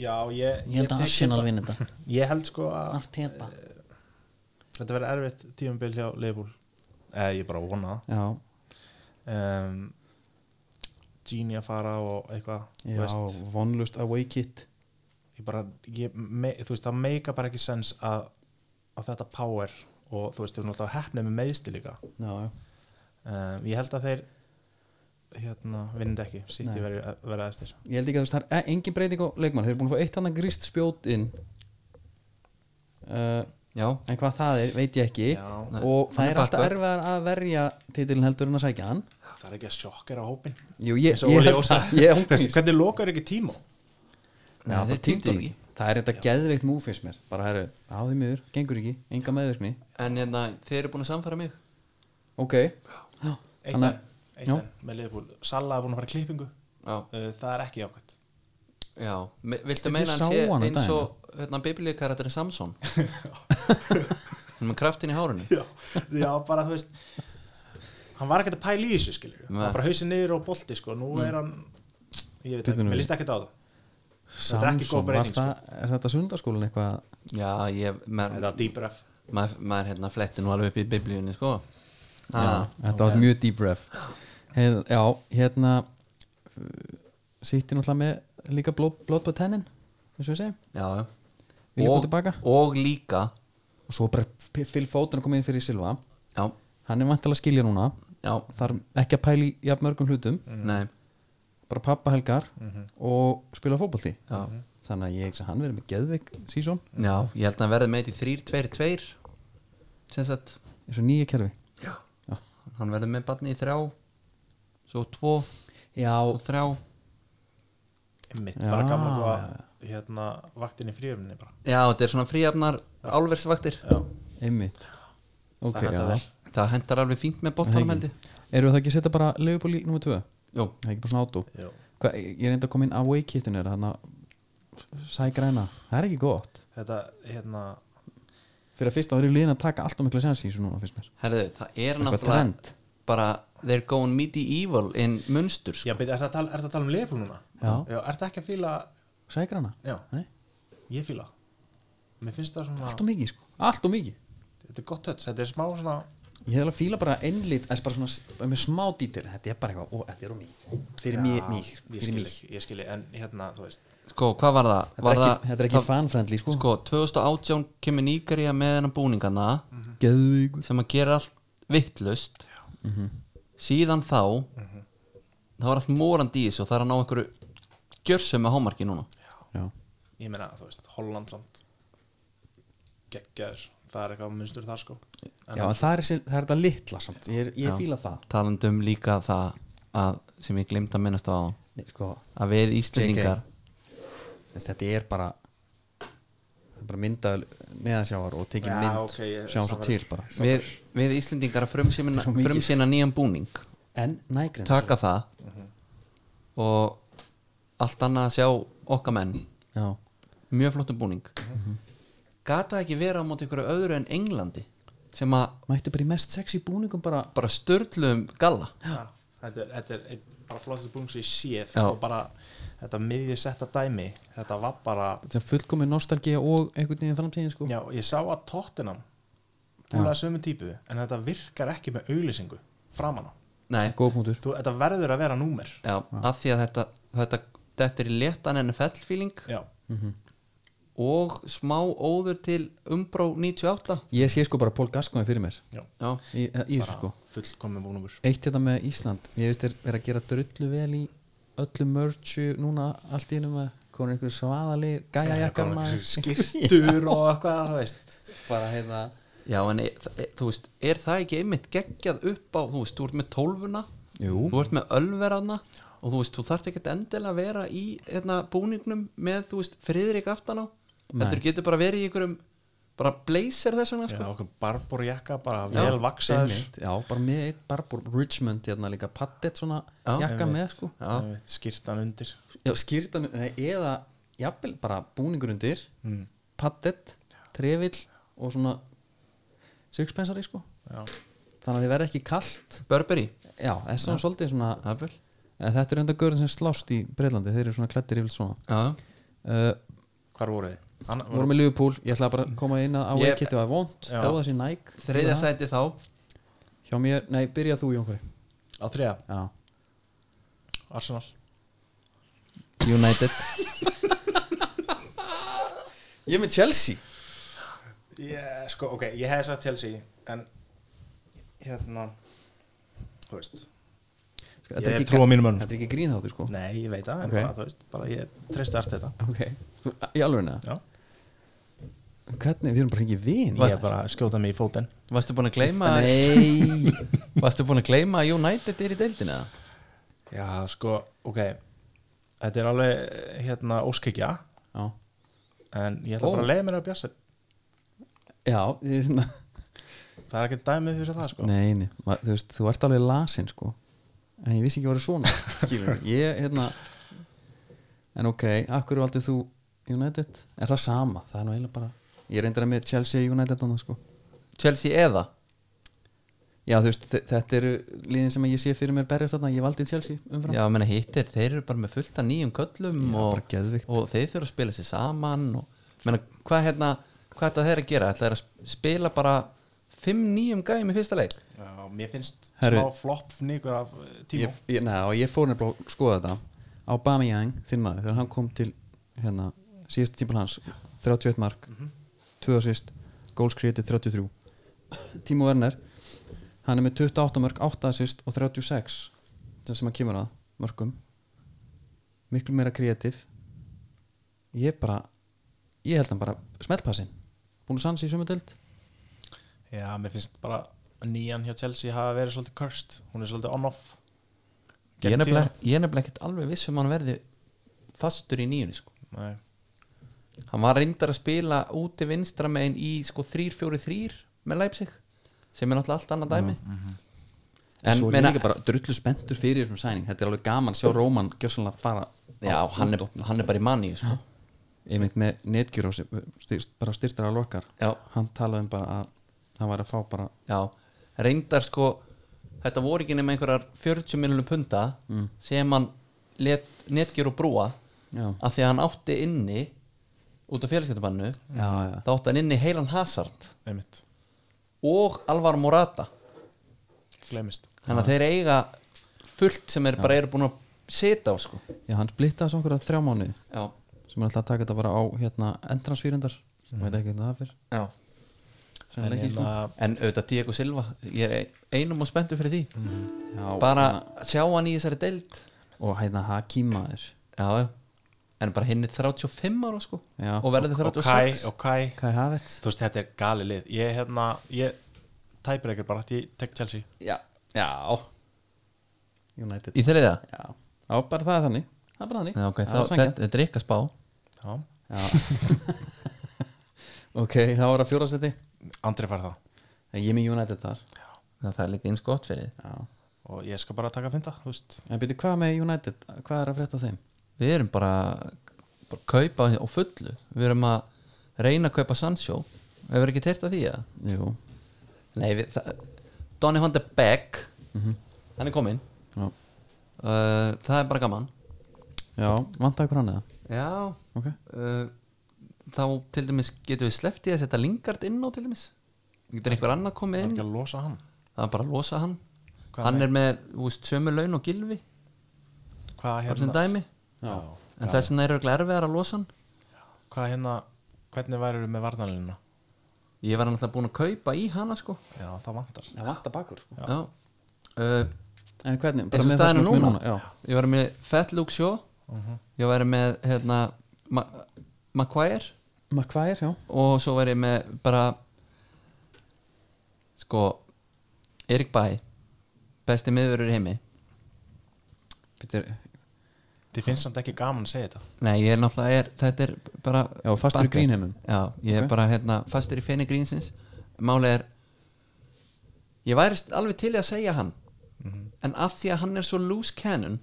B: já ég
A: Ég held að
B: tek
A: Arsenal
B: þetta.
A: vinna þetta
B: ég held sko að
A: Arteta
B: þetta verður erfitt tíumbil hjá Leifbúl eða Eh, ég bara vona
A: Já,
B: það um, Gini að fara og eitthvað þú
A: já,
B: veist.
A: vonlust away kit
B: ég bara ég, me, þú veist það meika bara ekki sens að, að þetta power og þú veist þau eru náttúrulega hefnið með meðstil líka
A: Já, já,
B: um, ég held að þeir hérna, vinnandi ekki
A: Nei.
B: City verið verið eftir
A: ég held ekki að þú veist það er engin breyting á leikmann Þeir eru búin að fá eitt annað gríst spjót inn uh,
C: já,
A: En hvað það er, veit ég ekki
B: Já.
C: Nei.
A: Og
C: Hann
A: það
C: er
A: er alltaf
C: bakvörð.
A: erfiðar að verja titilin heldur en að sækja hann
B: það er ekki að sjokkera hópin
A: Jú, ég,
B: Eins og
A: ég,
B: Óli
A: held
B: Ósa.
A: það, ég held
B: Veistu,
A: það
B: hvernig lokar ekki tíma
C: Nei, þeir týndu
A: honum.
C: ekki.
A: Það er þetta geðveikt múfis mér Bara það eru, á því miður, gengur ekki, enga meðvirkni
C: en hérna, þeir eru búin að samfæra mig
A: Ok Já,
B: eitt enn, eitt
A: já.
B: enn með liðbúl Salla er búin að fara í klippingu
C: já,
B: uh, það er ekki jákvæmt
C: já, Me, viltu
A: Ég
C: meina
A: sá
C: hann sé
A: hann um
C: eins
A: daginn.
C: og hérna, biblíukarakterin Samson hann er með kraftin í hárinu
B: já, já, bara þú veist hann var ekkert að pæla í þessu skilur
C: Nei.
B: hann bara hausin niður og bolti sko nú er hann ég veit
A: Bíddu
B: ekki,
A: Mm. nú
B: mér
A: við.
B: líst ekkert á það Þetta er ekki góð
A: Samson, var
B: breyting, sko.
A: það, er þetta sundarskólan eitthvað
C: já, ég maður
B: Þetta er deep ref
C: mað, mað, hérna fletti nú alveg upp í biblíunni sko ah,
A: Þetta var mjög deep ref Heið, Já, hérna Sýtti náttúrulega með líka blóð, blóð på tennin eins og við segjum,
C: já, já.
A: vilja
C: Og-
A: koma tilbaka
C: og líka
A: og svo bara P- Phil Foden kom inn fyrir Silva
C: já,
A: hann er vantilega að skilja núna
C: já,
A: þarf ekki að pæli jafn mörgum hlutum
C: nei
A: bara pappa helgar og spila fótbolti
C: já,
A: þannig að ég held að hann verið með geðveik sísón
C: já, ég held að hann verði með í 3-2-2 sem sagt
A: eins og nýja kerfi
C: hann verður með barni í þrjá svo tvo,
A: Já,
C: svo þrjá
B: Mitt,
A: Já.
B: bara gamla góða hérna, vaktin í fríöfninni bara
C: já, þetta er svona fríafnar álversvaktir
A: einmitt Ok,
B: Það
A: já
B: hentar
C: það hentar alveg fínt með boltanum held ég
A: Eru það ekki að setja bara Leopold í nummer 2?
C: Jú,
A: Það er ekki bara svona átó
B: Jú.
A: Hva, Ég reyndi að koma inn away kitinu hérna, Þannig að sægræna Það er ekki gott
B: Þetta, hérna
A: Fyrir að fyrsta þá eru liðin að taka allt og mikla sensi í þessu núna fyrst mér
C: herðu, það er
A: Eitthvað
C: náttúrulega
A: trend.
C: bara they're going medieval in munstur sko.
B: Já, beti, er það að tala, ertu að tala um leifur núna?
A: Já.
B: Já Er það ekki að fíla
A: Sægræna?
B: Já,
A: Nei,
B: ég fíla Mér finnst það svona
A: allt og mikið sko Allt og mikið
B: Þetta er gott tötts Þetta er smá svona
A: Ég hefði að fíla bara einlit Það er bara svona s- með smá dítil Þetta er bara eitthvað Og þetta er um mikið Fyrir mér, mér, fyrir
B: Ég skil
A: mér
B: ekki, ég skil ekki En hérna, þú veist
C: sko, hvað var það?
A: Þetta
C: Var
A: er
C: það-
A: ekki, þetta er ekki
C: það-
A: fanfriendly sko,
C: sko, 2018 kemur Níkaríja með hennar búningana
A: Mhm. Geðvík
C: sem að gera allt vittlust
A: Mhm.
C: síðan þá þá er allt morandi í þessu og það er að ná einhverju gjörsum með hámarki núna
A: Já,
B: Ég meina, þú veist, Hollandland Geggjaður Það er eitthvað munstur þar sko
A: Já en það er, þessi- það er þetta litla samt Ég, er- ég fíla það
C: talandum líka það að, sem ég glemt að minnast á áðan,
A: Nei, sko,
C: að við Íslendingar
A: þess, þetta er bara það er bara myndað neðansjávar og tekið
B: Já,
A: mynd
B: ok, ég-
A: sjáum svo
B: samfæður.
A: til bara
C: við, við Íslendingar að frumsýna,
A: Svo mikið.
C: frumsýna nýjan búning
A: en nægrind
C: taka það
A: Mhm.
C: og allt annað að sjá okkar menn
A: já,
C: mjög flottum búning gata ekki vera á móti ykkur öðru en Englandi sem að
A: mættu bara í mest sexy búningum bara
C: bara störtlum galla
B: Já, Ah, þetta er, þetta er einn bara flottist búin sem ég séð
C: Já.
B: og bara þetta miðjusetta dæmi þetta var bara,
A: þetta er fullkomin nostalgía og einhvern veginn framtíðin sko
B: já, ég sá að tóttinam búin að sömu típu en þetta virkar ekki með auglýsingu framan á,
C: Nei,
A: góð punktur
B: Þú, þetta verður að vera númer
C: já, að því að þetta þetta, þetta er í léttan NFL feeling
B: já,
C: og smá óður til umbró 98
A: ég sé sko bara Pól Gaskóin fyrir mér
B: já,
C: já,
A: í, í þessu sko
B: fullkomum búnumur
A: eitt þetta með Ísland ég veist er, er að gera drullu vel í öllu mörgju núna allt í innum að komin einhver svaðalir gæjajakkar maður
B: skirtur og eitthvað, það veist
A: bara hérna
C: já en e, þa- e, þú veist, er það ekki einmitt geggjað upp á, þú veist, þú ert með tólfuna
A: Jú.
C: þú ert með ölverðana og þú veist, þú þarft ekki endilega að vera í hérna, búningnum með, þú veist, friðrik aftan á, þetta getur bara verið í einhverjum bara blazer þess vegna
B: já,
C: sko.
B: okkur barborjakka, bara vel vaksaður
A: Einmitt, já, bara með eitt barbúr Richmond hérna líka, paddett svona
C: Já.
A: jakka með sko
C: Já.
B: Einmitt, skyrtan undir
A: já, skýrtan, nei, eða jafnvel bara búningur undir mm. paddett, trefill og svona sixpensari sko
B: já,
A: þannig að þið verða ekki kalt
C: Burberry,
A: já, þess svona svolítið svona
C: Apple
A: eða þetta er enda görðin sem slást í Breitlandi þeir eru svona klættir yfir svona
C: já,
A: uh,
B: hvar voru þið? Anna,
A: vorum með Liverpool, ég ætlaði bara að koma inn að á
C: Ég-
A: ekkert og að vond,
B: Já.
A: þó það sé næk
C: þriðja sæti þá
A: hjá mér, nei, byrja þú Jónkari
B: á þriða,
A: já,
B: Arsenal
C: United
A: ég er með Chelsea
B: Ég, sko, ok, ég hefði sagt Chelsea en hérna þú veist
A: Þetta
B: Ég
A: er
B: trú á mínum mönnum.
A: Þetta er ekki grín þáttur sko
B: nei, ég veit það, en
A: Ok.
B: bara, þú veist, bara ég treysti allt þetta
A: Ok, í alveg neða
B: já,
A: Hvernig, við erum bara hengið vin
B: ég er bara að skjóta mig í fótinn
C: Varstu búin að gleyma
A: Nei
C: Varstu búin að gleyma að United er í deildinu?
B: já, sko, ok þetta er alveg, hérna, óskikja
A: Já,
B: en ég ætla
C: Ó.
B: bara að leiða mér að bjassa
A: já þið- na,
B: það er ekki dæmið fyrir það, sko
A: Nei, nei, ma- þú veist, þú ert alveg lasin sko En ég vissi ekki að vera svona Skilur, ég, hérna En ok, akkur valdið þú United? Er það sama, það er nú eiginlega bara Ég reyndar að með Chelsea United annað, sko
C: Chelsea eða?
A: Já, þú veist, þe- þetta eru liðin sem ég sé fyrir mér berjast þarna, ég valdi Chelsea umfram
C: Já, menna hittir, þeir eru bara með fullt af nýjum köllum
A: bara
C: og,
A: geðvikt.
C: og þeir þurfa að spila sér saman og menna, hvað hérna hvað þetta þeir að gera? Þetta er að spila bara fimm nýjum gæmi í fyrsta leik
B: Já, mér finnst
A: Herru.
B: smá flopp fnikur af eh, Timo
A: ég, ég, neða, og ég fór nefnilega að skoða þetta á Bami Yang, þinn maður, þegar hann kom til hérna, síðasta tímpil hans 31 mark,
C: Mhm.
A: 2 assist goals created 33 Timo Werner, hann er með 28 mörg, 8 assist og 36 sem sem hann kemur að mörgum miklu meira kreatív ég bara ég held hann bara smeltpassin búin að sansa í sumudeld
B: Já, mér finnst bara nýjan hjá Chelsea hafa verið svolítið cursed hún er svolítið on-off
C: Ég er
B: Gegnum
C: nefnilega ég er nefnilega ekkert alveg viss um hann verði fastur í nýjunni sko
B: tíðina. Nei.
C: hann var reyndar að spila úti vinstra megin í sko 3-4-3 með Leipzig sem er náttúrulega allt annað dæmi
A: en
C: en
A: mhm. svo er
C: meina,
A: ég líka bara drullu spenntur fyrir þessum sæning þetta er alveg gaman að sjá Róman gjössanlega fara
C: já, hann, er, hann er bara í manni sko.
A: einmitt með netgjur og styrst, bara styrtar að lokar
C: Já.
A: hann talaði um bara að hann væri að fá bara
C: já, reyndar sko þetta voru ekki nema einhverjar 40 miljonum punta
A: Mm.
C: sem hann let netgjur og brúa
A: já,
C: að því að hann átti inni út af félagskeptabannu
A: já, já.
C: þá átti hann inni heilan Hazard
B: einmitt,
C: og Alvar Morata
B: glemist
C: þannig að þeir eiga fullt sem er bara eru búin að setja á sko
A: já hann splittaði svo okkur að þrjá mánu
C: já,
A: sem er alltaf að taka þetta bara á hérna endransfýrindar mm. veit ekki hvernig það fyrr
C: já
A: sem er ekki
B: hérna-
A: sko
C: En auðvitað Diego Silva, ég er einum og spenntu fyrir því
A: sko. já,
C: Bara að sjá hann í þessari deild
A: og hérna Hakim maður
C: Já, já En bara hinn er 35 ára sko
A: Já.
C: Og verður
B: og
C: 36
B: Kai, og Kai
A: Kai Havert
B: þú veist, þetta er gali lið ég, hérna, ég tæpir ekkert bara, ég tek Chelsea
A: já, já United
C: Í þriða
A: já, já bara það er þannig það er bara þannig
C: Já, ok,
A: það
C: þá,
A: er sanngjarnt.
C: þetta þetta er ykkar spá
B: já.
A: Já Ok, það var að fjórasetti
B: Andri fær það
A: Ég er með United þar
C: Já, Það er líka eins gott fyrir þið.
A: Já.
B: og ég skal bara taka að finna, þú veist
A: En byrju, hvað með United? Hvað er að frétta af þeim?
C: Við erum bara, bara að kaupa á fullu Við erum að reyna að kaupa Sancho Hefur ekki teirt að því að
A: Jú
C: Nei, við, það, Donny van de Beek Hann er kominn
A: Já,
C: uh, Það er bara gaman
A: Já vantaði hver hann eða
C: Já,
A: Ok
C: uh, þá til dæmis getum við sleppt í að setja Lingard inn á til dæmis getur einhver annað
B: það
C: komið
B: er
C: inn
B: ekki að losa hann
C: það er bara að losa hann
B: Hvað
C: hann
B: með-
C: er með þú veist, sömu laun og gilvi
B: hvað
C: bara sem
B: hérna,
C: dæmi
B: já,
C: en þess vegna er auðvitað erfiðar að losa hann
B: hvað hérna hvernig værið með varnalina
C: ég var náttúrulega búin að kaupa í hana sko
B: já, það vantar
A: Það vantar bakur sko
C: já, Uh,
A: En hvernig?
C: eins og staðinu
A: sem við
C: núna,
A: Já
C: ég var með Fett Luke Shaw ég var með hérna Ma Maguire
A: Maguire, já
C: og svo var ég með bara sko Erik Bæ besti miðurur í heimi
A: Byrju,
B: þið finnst samt ekki gaman að segja þetta
C: Nei, ég er náttúrulega, er, þetta er bara
A: Já, fastur í
C: Bakka.
A: grínheimum.
C: Já, ég er
A: Ok.
C: bara hérna, fastur í feini grínsins Málið er Ég væri st- alveg til í að segja hann En af því að hann er svo loose cannon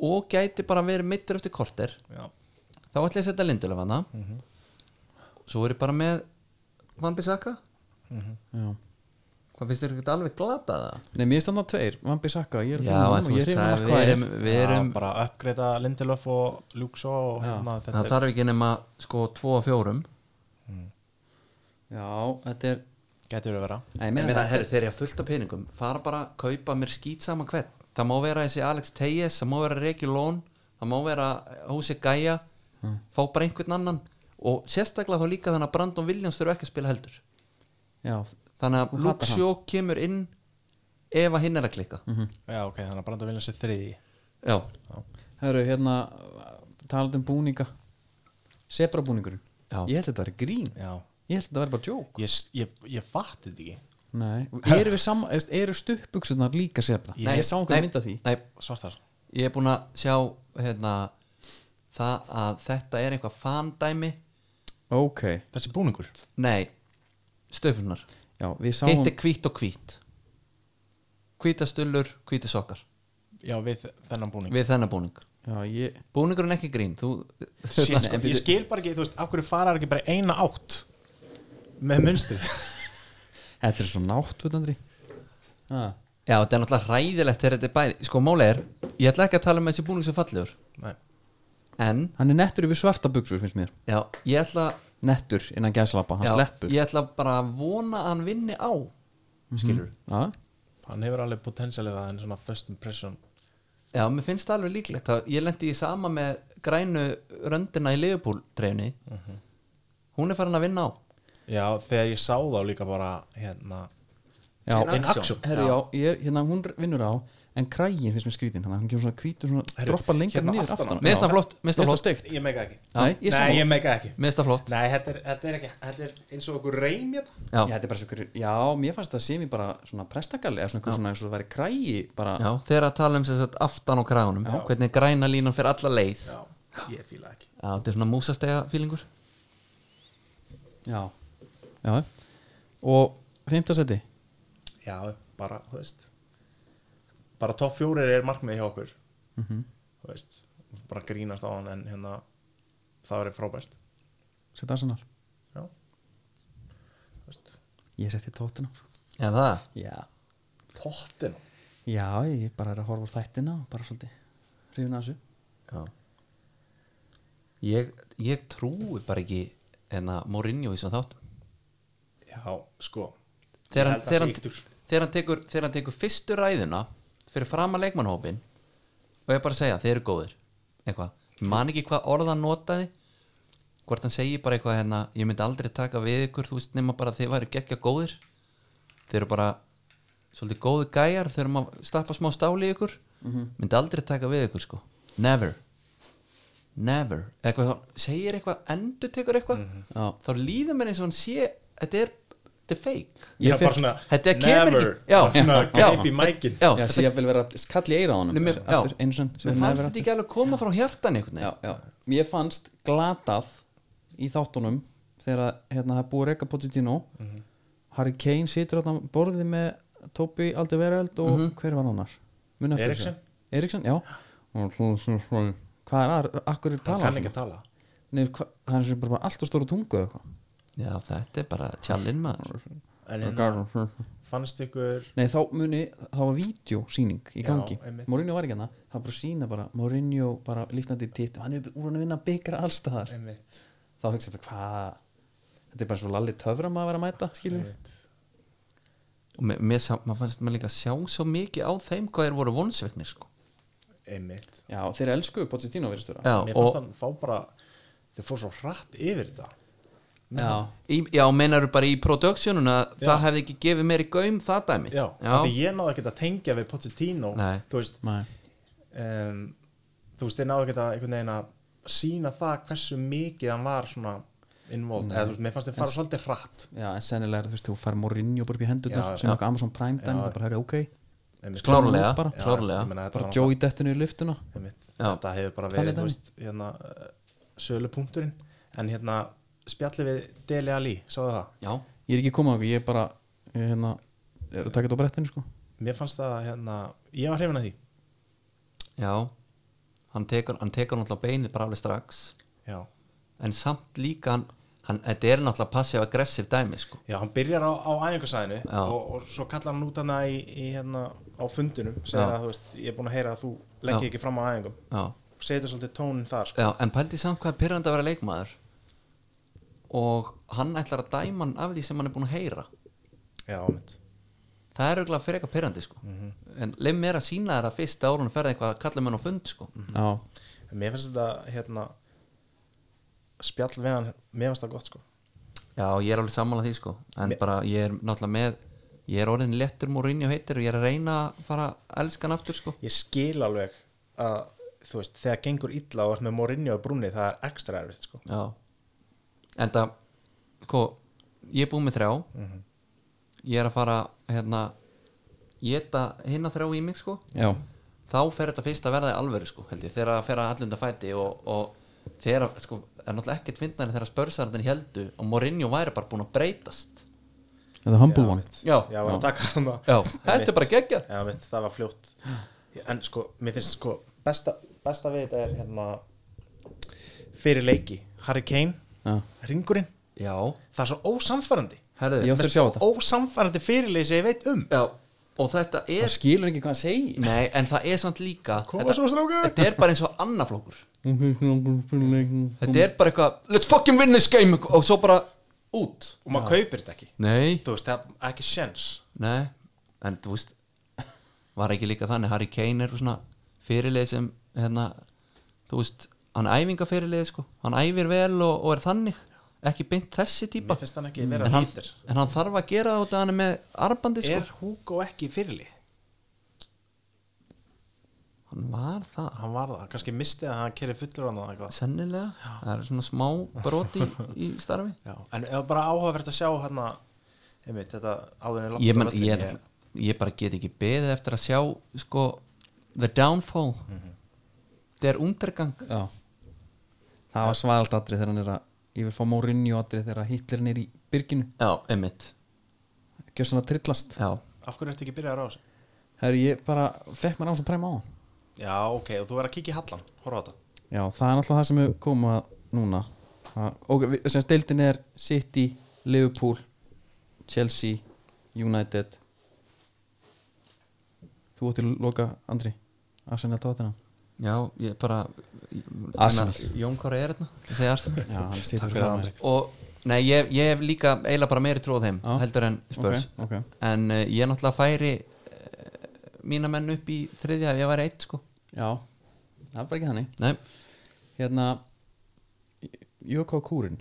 C: Og gæti bara verið mittur eftir korter
B: já,
C: Þá ætla ég að setja Lindelöf hana Svo er ég bara með Van Bissaka
A: já
C: Hvað finnst þér ekki alveg glatað það?
A: Nei, mér er standað tveir Vambi Saka Ég er
C: Já,
A: hrifinn af honum
C: en þú
A: og ég
C: veist,
A: er hrifin
C: það er-
A: af
C: við
A: Maguire.
C: erum, við erum
B: já, bara uppgreita Lindelöf og Luxo og hérna, þetta
C: Það þarf ekki nema sko 2 og 4
A: Já, þetta er
B: getur verið að vera
A: Nei,
C: Ég
A: meina
C: meina,
A: það-
C: herri, þeir eru að fullta peningum fara bara að kaupa mér skýt saman hvern það má vera þessi Alex Tejes það má vera Regi Lón það má vera Húsi Gæja
A: Mm.
C: fá bara einhvern annan og sérstaklega þá líka þannig að Brandon Williams þurfa ekki að spila heldur
A: Já, Þú
C: þannig að
A: hatar
C: Luke Sjó kemur inn ef að hinn er að klikka
A: Mhm.
B: já, ok, þannig að Brandon Williams er þriði
C: já,
A: herru, hérna Talað um búninga Sebra búningurinn
C: Já.
A: Ég held að þetta var grín
B: já,
A: Ég held að þetta væri bara joke
B: ég, ég, ég fatti þetta ekki
A: Nei, eru, við sam, eða, eru stuppbuksunar líka sefna? Ég, sá einhver mynd af því
C: nei,
B: svartar
C: ég er búin að sjá hérna, það að þetta er eitthvað fandæmi
A: Ok,
B: þessi búningur
C: nei, stöfunar
A: já, við sáum
C: hitt er hvít og hvít hvítastullur, hvítisokkar
B: já, við þennan búning
C: við þennan búning
A: Já, ég,
C: búningurinn ekki grín þú, Hérna,
B: Shit, sko, ég skil bara ekki, þú veist, af hverju fara ekki bara eina átt með munstuð
A: Þetta er svo nátt, veit andri ah.
C: Já, þetta er náttúrulega hræðilegt þegar þetta er bæði Sko, máli er, ég ætla ekki að tala um að þessi búning sem fallegur
B: Nei.
C: En,
A: Hann er nettur yfir svarta buksur, finnst mér
C: já, ég ætla
A: Nettur innan gæslappa, hann
C: já,
A: sleppur
C: Ég ætla bara að vona að hann vinni á Skilur
A: Já,
B: hann hefur alveg potensialið það en svona first impression
C: Já, mér finnst það alveg líklegt það, Ég lendi í sama með grænu röndina í Liverpool treyfni Hún er farin að vinna á
B: já, þegar ég sá þá líka bara hérna,
A: já,
B: In action.
A: Herri, já, ég, hérna hún vinnur á En krægin finnst mér skrítin, hann hann kemur svona hvítur svona
B: Herri,
A: droppar lengra
B: hérna
A: niður
B: aftan á.
A: aftan á.
C: Mér finnst
A: Já.
C: það flott, mér finnst það
A: Mér
C: flott
A: finnst það steikt
B: ég meika ekki
A: Já, ég
B: nei,
A: sammála.
B: ég meika ekki
C: Mér finnst það flott
B: nei, þetta er, þetta er ekki þetta er eins og okkur reym hérna
A: Já,
C: Já,
A: þetta er bara svo ykkur- já, mér fannst það semi bara svona prestakalli eða svona ykkur svona eins og það væri krægi bara
C: já þegar að tala um sem sagt aftan á kræfunum Hvernig græna línan fyrir alla leið Já,
B: já, ég fíla ekki
C: þetta er svona músastega fílingur
A: Já, já Og fimmta seti
B: já, bara, þú veist bara topp fjórir er markmið hjá okkur þú veist bara grínast á hann en hérna það er frábært
A: Seti Arsenal
B: já þú veist
A: Ég seti tóttina
C: Er það?
A: Já,
B: tóttin
A: já, ég bara er að horfa á þættina og bara svolítið hrifin að þessu
C: Já Ég, ég trúi bara ekki en að Mourinho í sem þáttum
B: já, sko
C: þegar
B: Ég held
C: hann,
B: að
C: þegar, hann,
B: sé yktur.
C: þegar, hann tekur, þegar hann tekur fyrstu ræðuna fyrir fram að leikmannhópin og ég er bara að segja, þeir eru góðir eitthvað, Ég man ekki hvað orð hann notaði hvort hann segi bara eitthvað hérna, ég myndi aldrei taka við ykkur þú veist nema bara að þeir væri geggja góðir þeir eru bara svolítið góði gæjar, þeir eru að stappa smá stáli í ykkur,
B: Mhm.
C: myndi aldrei taka við ykkur sko, never never, eitthvað, svona, segir eitthvað endur tekur eitthvað
B: Mhm.
A: Já.
C: þá líður mér eins og hann sé þetta er, þetta er fake
A: Ég
B: Já,
A: fer-
B: bara svona,
C: Þetta kemur ekki Já,
B: Hérna, svona,
C: já,
B: greip í mækin
C: Já,
A: Já,
C: þetta-
A: því að vil vera kall í eira á honum
C: Nei, mér- já.
A: Aftur, einu sinni,
C: mér
A: sem
C: fannst
A: never
C: þetta ekki alveg koma frá hjartan einhvern
A: já,
C: veginn
A: já. Mér fannst glatað í þáttunum þegar að, hérna, það er búið að reka Pochettino
B: Mhm.
A: Harry Kane situr á borðið með Tobi Aldevereld og hver var annar? Muna eftir þessu?
B: Eriksen?
A: Eriksen, já Og svo- svo- svo- Hvað er að, akkur er
B: hann
A: talað
B: kann
A: svona?
B: ekki að tala
A: Nei, hva, það er sem bara allt og stóra tungu eða eitthvað
C: já, þetta er bara tjallinn maður
B: en hérna, fannst ykkur
A: Nei, þá muni, þá var vídeosýning í
B: Já,
A: gangi
B: einmitt.
A: Mourinho var ekki hana, það var bara að sína bara Mourinho bara líknandi titt hann er úr hann að vinna byggra allstaðar
B: einmitt,
A: þá hugsa ég bara hvað þetta er bara svo lalli töfram að vera að mæta skilur
B: einmitt.
C: og mér, mér, sá- maður fannst maður líka að sjá svo mikið á þeim hvað þeir voru vonsveiknir sko.
B: einmitt.
A: Já, þeir elskuðu Pochettino virðist vera
C: já,
B: mér fannst
C: og,
B: hann fá bara þeir fór svo hratt yfir þetta
A: Já.
C: í, já, meinaru bara í productionuna það hefði ekki gefið mér í gaum það dæmi
B: já, já. því ég náði ekkert að tengja við Pochettino
C: Nei.
B: þú veist
A: Nei.
B: um, þú veist, þeir náðu ekkert að einhvern veginn að sína það hversu mikið hann var svona involved, eða þú veist, mér fannst þeir fara svolítið hratt
A: Já, en sennilega er þú veist, þú fær Mourinho bara upp í hendurnar
B: Já,
A: sem
C: já.
A: eitthvað Amazon Prime dæmi, það bara er ok
B: einmitt,
C: klárlega,
A: Bara-
B: Já,
C: klárlega.
B: ég meina, þetta
A: bara
B: var
A: Joey dettinu í lyftuna
B: náttúrulega- einmitt,
C: Já.
B: þetta hefur bara
A: Þannig
B: verið þú
A: dæmi.
B: veist, hérna, uh, sölupunkturinn en hérna, spjallið við Deli Ali, sáðu það?
C: já,
A: Ég er ekki komað okkur, ég er bara ég, hérna, er að taka þetta á brettinu sko
B: Mér fannst það, hérna, ég var hrifin að því
C: já hann tekur, hann tekur náttúrulega beinið bara alveg strax
B: já,
C: en samt líka hann, hann þetta er náttúrulega passive-aggressive dæmi sko.
B: já hann byrjar á, á æfingarsæðinu
C: Já.
B: og, og svo kallar hann út hana í, í hérna, á fundunum,
C: Já.
B: segir að þú veist ég er búin að heyra að þú leggir
C: Já.
B: ekki fram á æfingum
C: já
B: setur svolítið tónin þar, sko
C: Já, en pældi samt hvað er pyrrandi að vera leikmaður og hann ætlar að dæma hann af því sem hann er búin að heyra
B: já, einmitt.
C: það er auðvitað fyrir eitthvað pyrrandi sko. en leið mér að sína þeirra fyrst ára hann ferði eitthvað að kalla mér á fund sko.
A: Já,
B: En Mér finnst þetta hérna spjall við hann, mér finnst það gott sko
C: já, ég er alveg sammála því sko. en bara ég er náttúrulega með ég er orðin léttur Mourinho heitir og ég er að reyna að fara að elska hann aftur sko.
B: Ég skil alveg að þú veist, þegar gengur illa og ert með Mourinho og Brunni það er ekstra erfitt sko
C: já en það sko, ég er búin með þrjá ég er að fara hérna, ég geta hinna þrjá í mig sko.
A: já,
C: þá fer þetta fyrst að verða í alvöru sko, held ég, þegar að fer að allunda fæti og, og þegar að, sko, er náttúrulega ekkert fyndnari þegar spörsarðin heldu og Mourinho væri bara búin að breytast
A: þetta er humble
B: Já,
A: one
B: mitt.
C: Já.
B: já, var að taka hann að-
C: Já,
B: Mitt.
C: þetta er bara geggjað.
B: Já, mitt, það var fljótt En sko, mér finnst sko besta, besta við þetta er hérna fyrir leiki, Harry Kane
A: Já,
B: ringurinn,
C: já,
B: það er svo ósamfærandi
C: herðu
A: Já.
C: já,
A: þurfti að sjá þetta.
B: Ósamfærandi fyrirleysi ég veit um
C: já, og þetta
A: það
C: er
A: skilur ekki hvað hann segir
C: nei, en það er samt líka
E: Koma
C: þetta,
E: svo, strákar!
C: þetta er bara eins og annaflókur
A: þetta
C: þetta er bara eitthvað let's fucking win this game og svo bara út
B: og maður kaupir þetta ekki
C: nei,
B: þú veist, það er ekki sjens
C: nei en þú veist var ekki líka þannig Harry Kane er svona fyrirlið sem hérna, þú veist, hann æfinga fyrirlið sko, hann æfir vel og, og er þannig ekki beint þessi típa
B: Mér finnst hann ekki vera
C: en hann,
B: lítir.
C: en hann þarf að gera það út af hann er með arbandi sko
B: er Hugo ekki fyrirli?
C: hann var það
B: hann var það, kannski mistið að hann kerið fullur hann eitthvað
C: sennilega, það er svona smá broti í starfi
B: Já, en það var bara áhugavert að sjá hann einmitt, þetta áðurinn
C: ég, menn, ég, er- ég bara get ekki beðið eftir að sjá sko, the downfall
B: Mhm.
C: þetta er undergang
A: Já Það var svalalt atrið þegar hann er að ég vil fá Mourinho atrið þegar Hitlerin er í byrginu
C: já, einmitt
A: gjör svona trillast
C: já,
B: af hverju ertu ekki byrjað á þessu?
A: Þegar ég bara fekk mér á sem præm á hann
B: já, ok, og þú er að kíkja í hallan, horfa á þetta
A: Já, það er náttúrulega það sem við komum að núna að, ok, við- sem stildin er City, Liverpool Chelsea, United Þú átti að loka Andri Arsenal tóttina
C: já, ég bara ég-
A: Arsenal.
C: hérna, Jón Kára er hérna ég segi Arsenal
A: Já, hann situr
B: Takk
A: fyrir
B: fyrir
A: framan
B: Andri.
A: mig.
C: og nei, ég, ég hef líka eiginlega bara meiri tróð þeim
A: Já.
C: heldur en Spurs
A: Ok, ok.
C: en uh, ég náttúrulega færi uh, mína menn upp í þriðja ef ég væri eitt sko
A: Já, það er bara ekki þannig
C: nei,
A: hérna Jökó Kúrin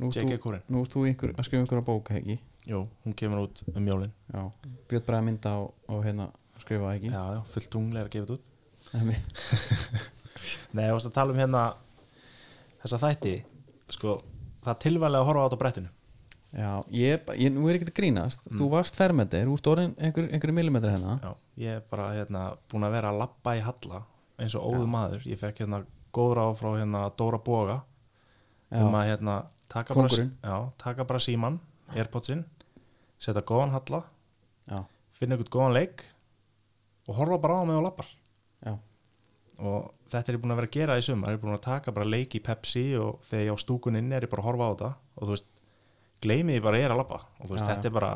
A: nú ert
B: J.K.
A: þú-
B: Kúrin.
A: nú ert þú ykkur, að skrifa ykkur að bóka ekki
B: jú, hún kemur út um jólin
A: já, Björn Braga mynda og, og hérna skrifa ekki
B: já, já, fullt tunglega að gefa þetta út
A: Æmi.
B: Nei, þú varst að tala um hérna þessa þætti sko, það er tilvælega að horfa á þetta á brettinu
A: já, ég, er bara- ég, nú er ekkert að grínast þú varst fermetir, þú ert orðin einhver, einhverju millimetri hérna
B: Já, ég er bara hérna búin að vera að labba í halla eins og óðu maður, ég fekk hérna góðra á frá hérna Dóra Boga um að hérna taka bara,
A: Kóngurinn.
B: já, taka bara síman Airpodsinn, setja góðan halla
A: já,
B: finna ykkur góðan leik og horfa bara á hann með og labbar
A: já,
B: og þetta er ég búin að vera að gera í sumar ég er búin að taka bara leik í Pepsi og þegar ég á stúkun inn er ég bara að horfa á þetta og þú veist, gleymi ég bara að ég er að labba og þú veist,
A: Já,
B: þetta er bara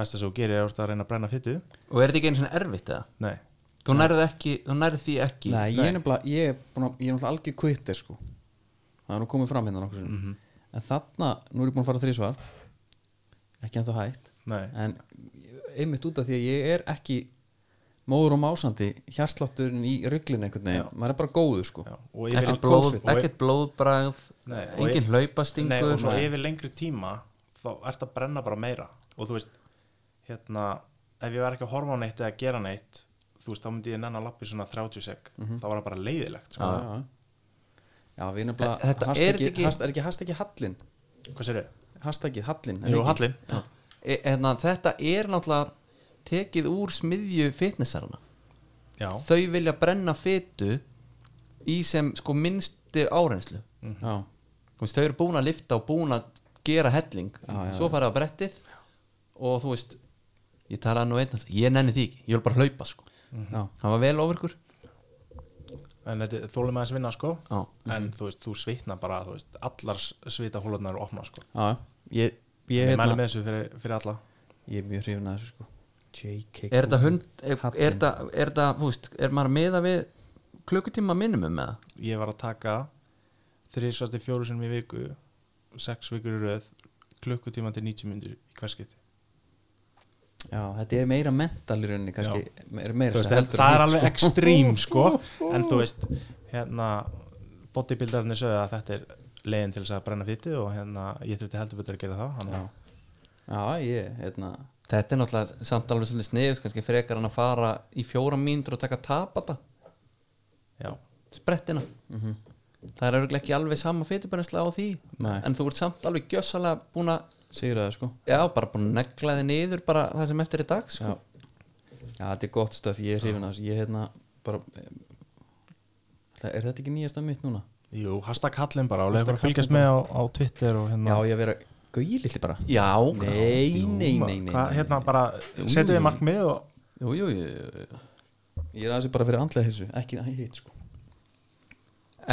B: besta sem þú gerir er að reyna að brenna fyttu
C: og er þetta ekki einu svona erfitt eða?
B: nei,
C: þú nærði, ekki, þú nærði því ekki
A: Nei, ég er nefnilega ég er, búin að, ég er náttúrulega algjör kvittir sko. það er nú komið fram hérna nokkuð mm en þarna, nú er ég búin að fara þrísvar ekki ennþá hægt
B: nei,
A: en einmitt út af því að ég er ekki móður og másandi hjarslátturinn í rugglinu einhvern veginn maður er bara góður sko
B: já, og yfir,
C: ekkert
A: Ekkert
C: blóð,
A: kósið.
C: ekkert blóðbræð
B: Nei, og
C: engin
B: ég-
C: hlaupastingur
B: nei, og svo
C: Nei.
B: yfir lengri tíma þá ert að brenna bara meira og þú veist, hérna ef ég var ekki að horfa á neitt eða gera neitt þú veist, þá myndi ég nennan lappi svona 30 sek þá var það bara leiðilegt sko.
A: já, já við erum
C: E- þetta
A: bara
C: er ekki-
A: hashtaggi, er ekki hashtaggi hallin
B: hvað sér þau?
A: hashtaggi hallin
B: Jú, Hallin
C: E- hérna, þetta er náttúrulega tekið úr smiðju fitnessarana
B: Já,
C: þau vilja brenna fitu í sem sko minnstu árenslu
A: já,
C: Þú veist, þau eru búin að lifta og búin að gera helling
A: Já, já,
C: svo farið á brettið og þú veist ég talaði nú einn alltaf, ég nenni því ekki, ég vil bara hlaupa sko.
A: já,
C: hann var vel ofurkur
B: en þetta þólum aðeins vinna sko
C: Já.
B: En þú veist, þú svitna bara, þú veist, allar svita hólunar eru opna sko
A: já ég, ég,
B: Ég mæli
A: hérna,
B: með þessu fyrir, fyrir alla
A: ég er mjög hrifin að þessu sko JK
C: er þetta hund, er, er,
A: Hallinn.
C: þetta, er þetta, þú veist er maður að miða við klukkutíma minimum með það
B: Ég var að taka þrísvartir fjóru sinum í viku sex vikur í röð klukkutíma til 90 myndir í hverskipti
A: já, þetta er meira mental í rauninni kannski, er meira
B: veist,
A: sem
B: það,
A: heldur
B: það
A: en
B: er
A: hitt,
B: alveg ekstrím sko En þú veist, hérna bodybuildarnir sögðu að þetta er leiðin til þess að brenna fytu og hérna ég þurfti heldur betur að gera það hann,
A: já, ég, hérna
C: þetta er náttúrulega samt alveg svolítið sniðust kannski frekar hann að fara í fjóra mínútur og taka tapata
B: já.
C: sprettina það er örugglega ekki alveg sama fytirbrennsla á því
A: Nei.
C: en þú ert samt alveg gjössalega búin að
A: sigur það sko
C: já, bara búin að negla þið niður bara það sem eftir er dag sko.
A: já. já, þetta er gott stöf, ég er hrifin að þessu ég hérna bara em, það- er þetta ekki nýjasta mitt núna?
B: Jú, hashtag Hallin bara og leiður bara að fylgjast með á, á Twitter
A: Já,
B: og hérna
A: ég að vera gauðlilli bara
C: já,
A: Nei, nei, nei, nei,
B: Hvað,
A: nei.
B: hérna bara, setjum við markmið og
C: jú, jú, jú,
A: Ég er aðeins bara fyrir andlega hilsu, ekki ekki hitt sko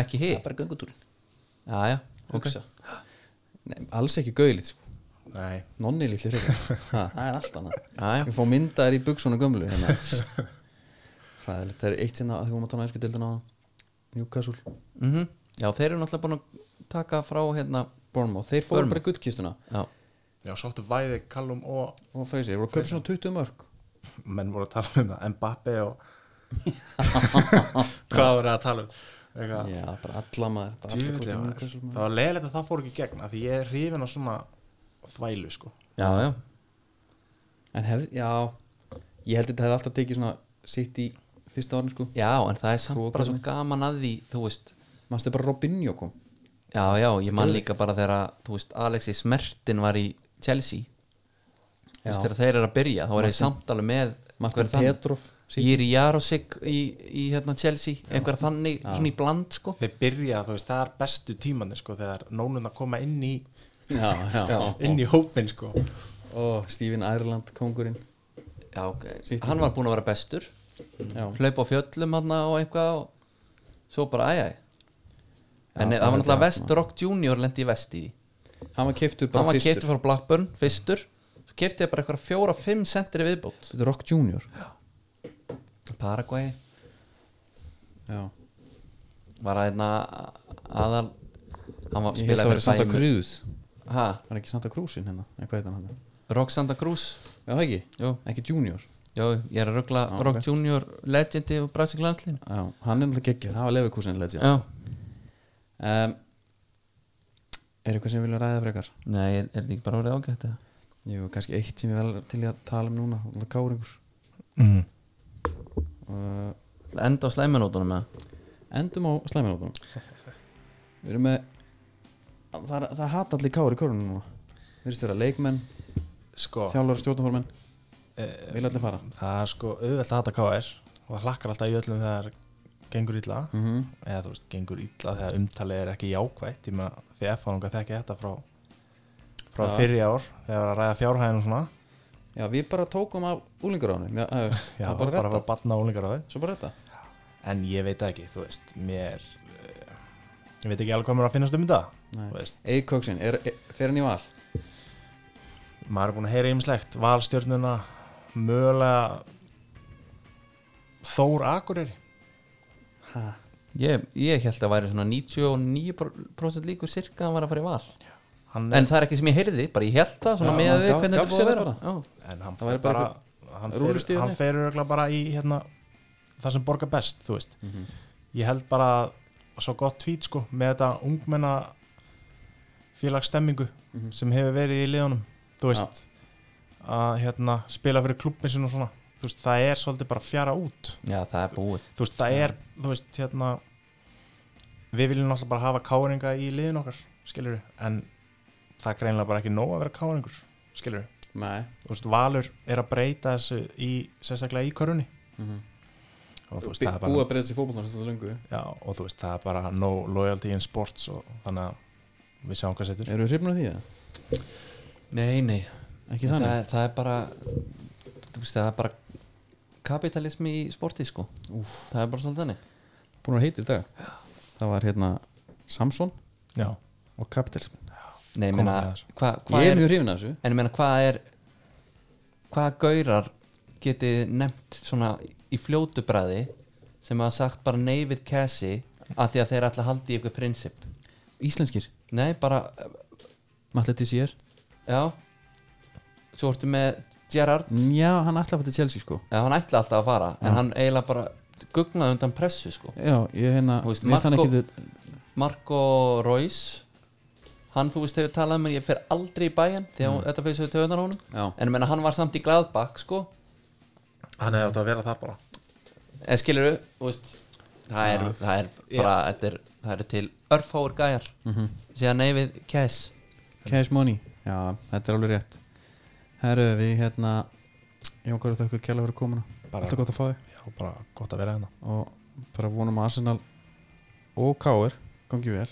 C: ekki hitt
A: bara göngutúrin
C: já, já, ok
A: Hugsa Nei, alls ekki gauðlitt sko
B: Nei,
A: Nonni lítið hryggjar Ha, Það er allt annað
C: Já, já.
A: Ég fá myndaðir í buksuna gömlu hérna. Hræðilegt, það er eitt sinna að því vorum að tala um æsku dildina Newcastle,
C: mm Já, þeir eru náttúrulega búin að taka frá hérna
A: Bournemouth Þeir fóru
C: Bournemouth.
A: bara í guttkistuna
C: Já,
B: já, sáttu væði Callum og
A: og freysi, þeir voru að köpa svona 20 mörg
B: menn voru að tala um það, Mbappe og hvað voru að tala um eitthvað
A: Já, bara alla maður bara allir
B: Djöfull,
A: kostir
B: já, maður.
A: Newcastle
B: það
A: maður.
B: var leiðilegt að það fór ekki í gegn af því ég er hrifin á svona þvælu sko
C: já, já,
A: En hefði, já Ég held að þetta hefði alltaf tekið svona sitt í fyrsta árin sko
C: já en það er samt
A: Þú og
C: bara svo
A: hvernig?
C: gaman að því, þú veist
A: Manstu bara Robinho kom
C: Já, já, ég man líka bara þegar að, þú veist, Alexi Smertin var í Chelsea Þú veist,
A: Já.
C: þegar þeir eru að byrja, þá er ég samt alveg með
A: Martin
C: einhver þann-
A: Petrov City.
C: Jiri Jarosik í, í hérna Chelsea, einhver þannig, svona í bland, sko
B: þeir byrja, þú veist, það er bestu tímanir sko þegar nónun að koma inn í
A: Já, já
B: inn í hópin sko
A: Og Steven Ireland, kongurinn
C: Já, ok, hann var búin að vera bestur
A: Já,
C: hlaupa á fjöllum hann og eitthvað og svo bara æjæ
A: Já,
C: en það var
A: það
C: náttúrulega
A: er
C: West Rock Junior lendi í vest í því
A: hann var keiftur
C: hann
A: bara
C: var
A: fyrstur
C: keftur frá Blackburn fyrstur svo kefti ég bara eitthvað fjóra-fimm sentri viðbót
A: Þetta er Rock Junior
C: Paraguay
A: Já
C: var að hérna aðal hann var
A: Ég held
C: spilað
A: að vera Santa
C: fyrir
A: Cruz
C: ha,
A: Var ekki Santa Cruzin hérna? Nei, hvað heit hann hann?
C: Rock Santa Cruz
A: Já, það ekki?
C: Jú.
A: Ekki Junior
C: já, ég er að ruggla
A: Já,
C: Rock
A: ok.
C: Junior legendi og Brasil landslín
A: Já, hann er náttúrulega geggja Það var Leverkusen legend
C: já,
A: um, Er eitthvað sem við viljum ræða frekar?
C: nei, er þetta ekki bara orðið ágætt eða?
A: Jú, kannski eitt sem ég vel til í að tala um núna Það er káringur
B: mm.
A: uh,
C: enda á slæminótunum með
A: Endum á slæminótunum Við erum með Það, er- það hata allir kári í kórunum núna Við erum störa leikmenn,
B: sko,
A: þjálfur og stjórnaformenn
B: eh,
A: Vil allir fara
B: það er sko auðvelt að hata KR og það hlakkar alltaf í öllum þegar gengur illa
A: mm -hmm.
B: eða þú veist, gengur illa þegar umtalið er ekki jákvætt ég meina, því að fánunga þekki þetta frá frá
A: Já.
B: fyrri ár þegar var að ræða fjárhæðin og svona
A: Já, við bara tókum af úlingaráðunum Já, það veist,
B: já,
A: það
B: bara,
A: bara
B: bara
A: retta
B: að batna úlingaráði
A: Svo bara retta
B: en ég veit það ekki, þú veist, mér eh, ég veit ekki alveg hvað mér er að finnast um þetta
A: Nei.
B: þú veist,
A: Eik Köksin, er, er, fer hann í val?
B: maður er búin að heyra ýmislegt valstjörnuna, mögulega Þór Akureyri
A: Ha.
C: ég, ég held að væri svona 99% líkur sirka að hann var að fara í val
B: hann
C: en það er ekki sem ég heyrði, bara ég held það svona
A: Já,
C: með
A: hann
C: við
A: gaf-
C: hvernig
A: gaf
C: þetta búið
A: sér
C: að
A: það
C: vera já,
B: en hann
A: Það
B: fer
A: væri bara
B: bara hann fer,
A: rúllustíðni.
B: hann fer örugglega bara í hérna, það sem borgar best þú veist
A: Mhm.
B: ég held bara að svo gott tvít sko með þetta ungmenna félagsstemmingu
A: Mhm.
B: sem hefur verið í liðunum þú veist að hérna, spila fyrir klubbin sinn og svona þú veist, það er svolítið bara fjara út
C: já, það er búið
B: þú veist, það er þú veist, hérna, við viljum náttúrulega bara hafa káringa í liðun okkar skilur en það er greinlega bara ekki nóg að vera káringur skilur
A: Nei
B: þú veist, Valur er að breyta þessu í, sérstaklega í körunni
A: mm -hmm.
B: og þú
A: Búið
B: veist, það
A: að
B: er bara,
A: breyða sér fótboltan sem þetta löngu
B: já, og þú veist, það er bara no loyalty in sports og þannig að við sjáum hvað setur
A: Eru við hrifnir af því? eða?
C: nei, nei,
A: Ekki
C: það
A: þannig?
C: er, það er bara þú veist, það er bara kapitalismi í sporti sko það er bara svolítið þannig
A: Búin að heita í dag Það var hérna Samson
B: já,
A: og kapitalismin
C: nei,
B: Koma
C: meina,
B: með þér.
C: hva, hva
A: Ég er
C: er,
A: mjög hrifin af þessu
C: en ég meina, hvað er hvað gaurar getið nefnt svona í fljótu bræði sem hafa sagt bara nei við Cassie að því að þeir ætla að haldi í eitthvað prinsip
A: Íslenskir,
C: nei, bara,
A: Matlet í sér
C: já svo ertu með Gerard
A: Já, hann ætlaði að fæta Chelsea sko
C: Já, hann ætlaði alltaf að fara En hann eiginlega bara gugnaði undan pressu sko.
A: Já, ég hérna
C: Þú veist,
A: Mér finnst hann
C: Marco-
A: ekki
C: Marco Reus Hann, þú veist, hefur talað um mér Ég fer aldrei í bæinn Því að þetta fyrir svo töðunar honum
A: Já.
C: En menna, hann var samt í glæðbakk sko.
B: hann hefði átt að vera það bara
C: En skilur þú veist Það er, það er bara þetta er, Það eru til örfáur gæjar mm -hmm. Síðan nei við Kess
A: Cash Money Já, þetta er alveg rétt Herru, við hérna Ég okkar að þau kjæla fyrir komuna
B: Bara-
A: Alltaf gott að fá þig
B: já, bara gott að vera hérna,
A: Og bara vonum að Arsenal og Káir gangi vel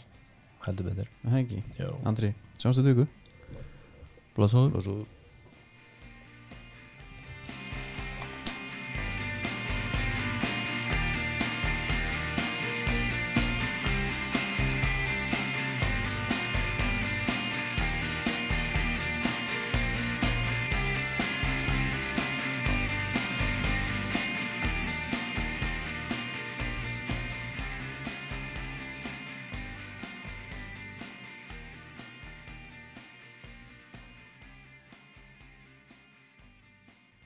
B: heldur betur
A: Það ekki
B: já.
A: Andri, sjáumstu dugu
C: Blásóður
A: Blásúður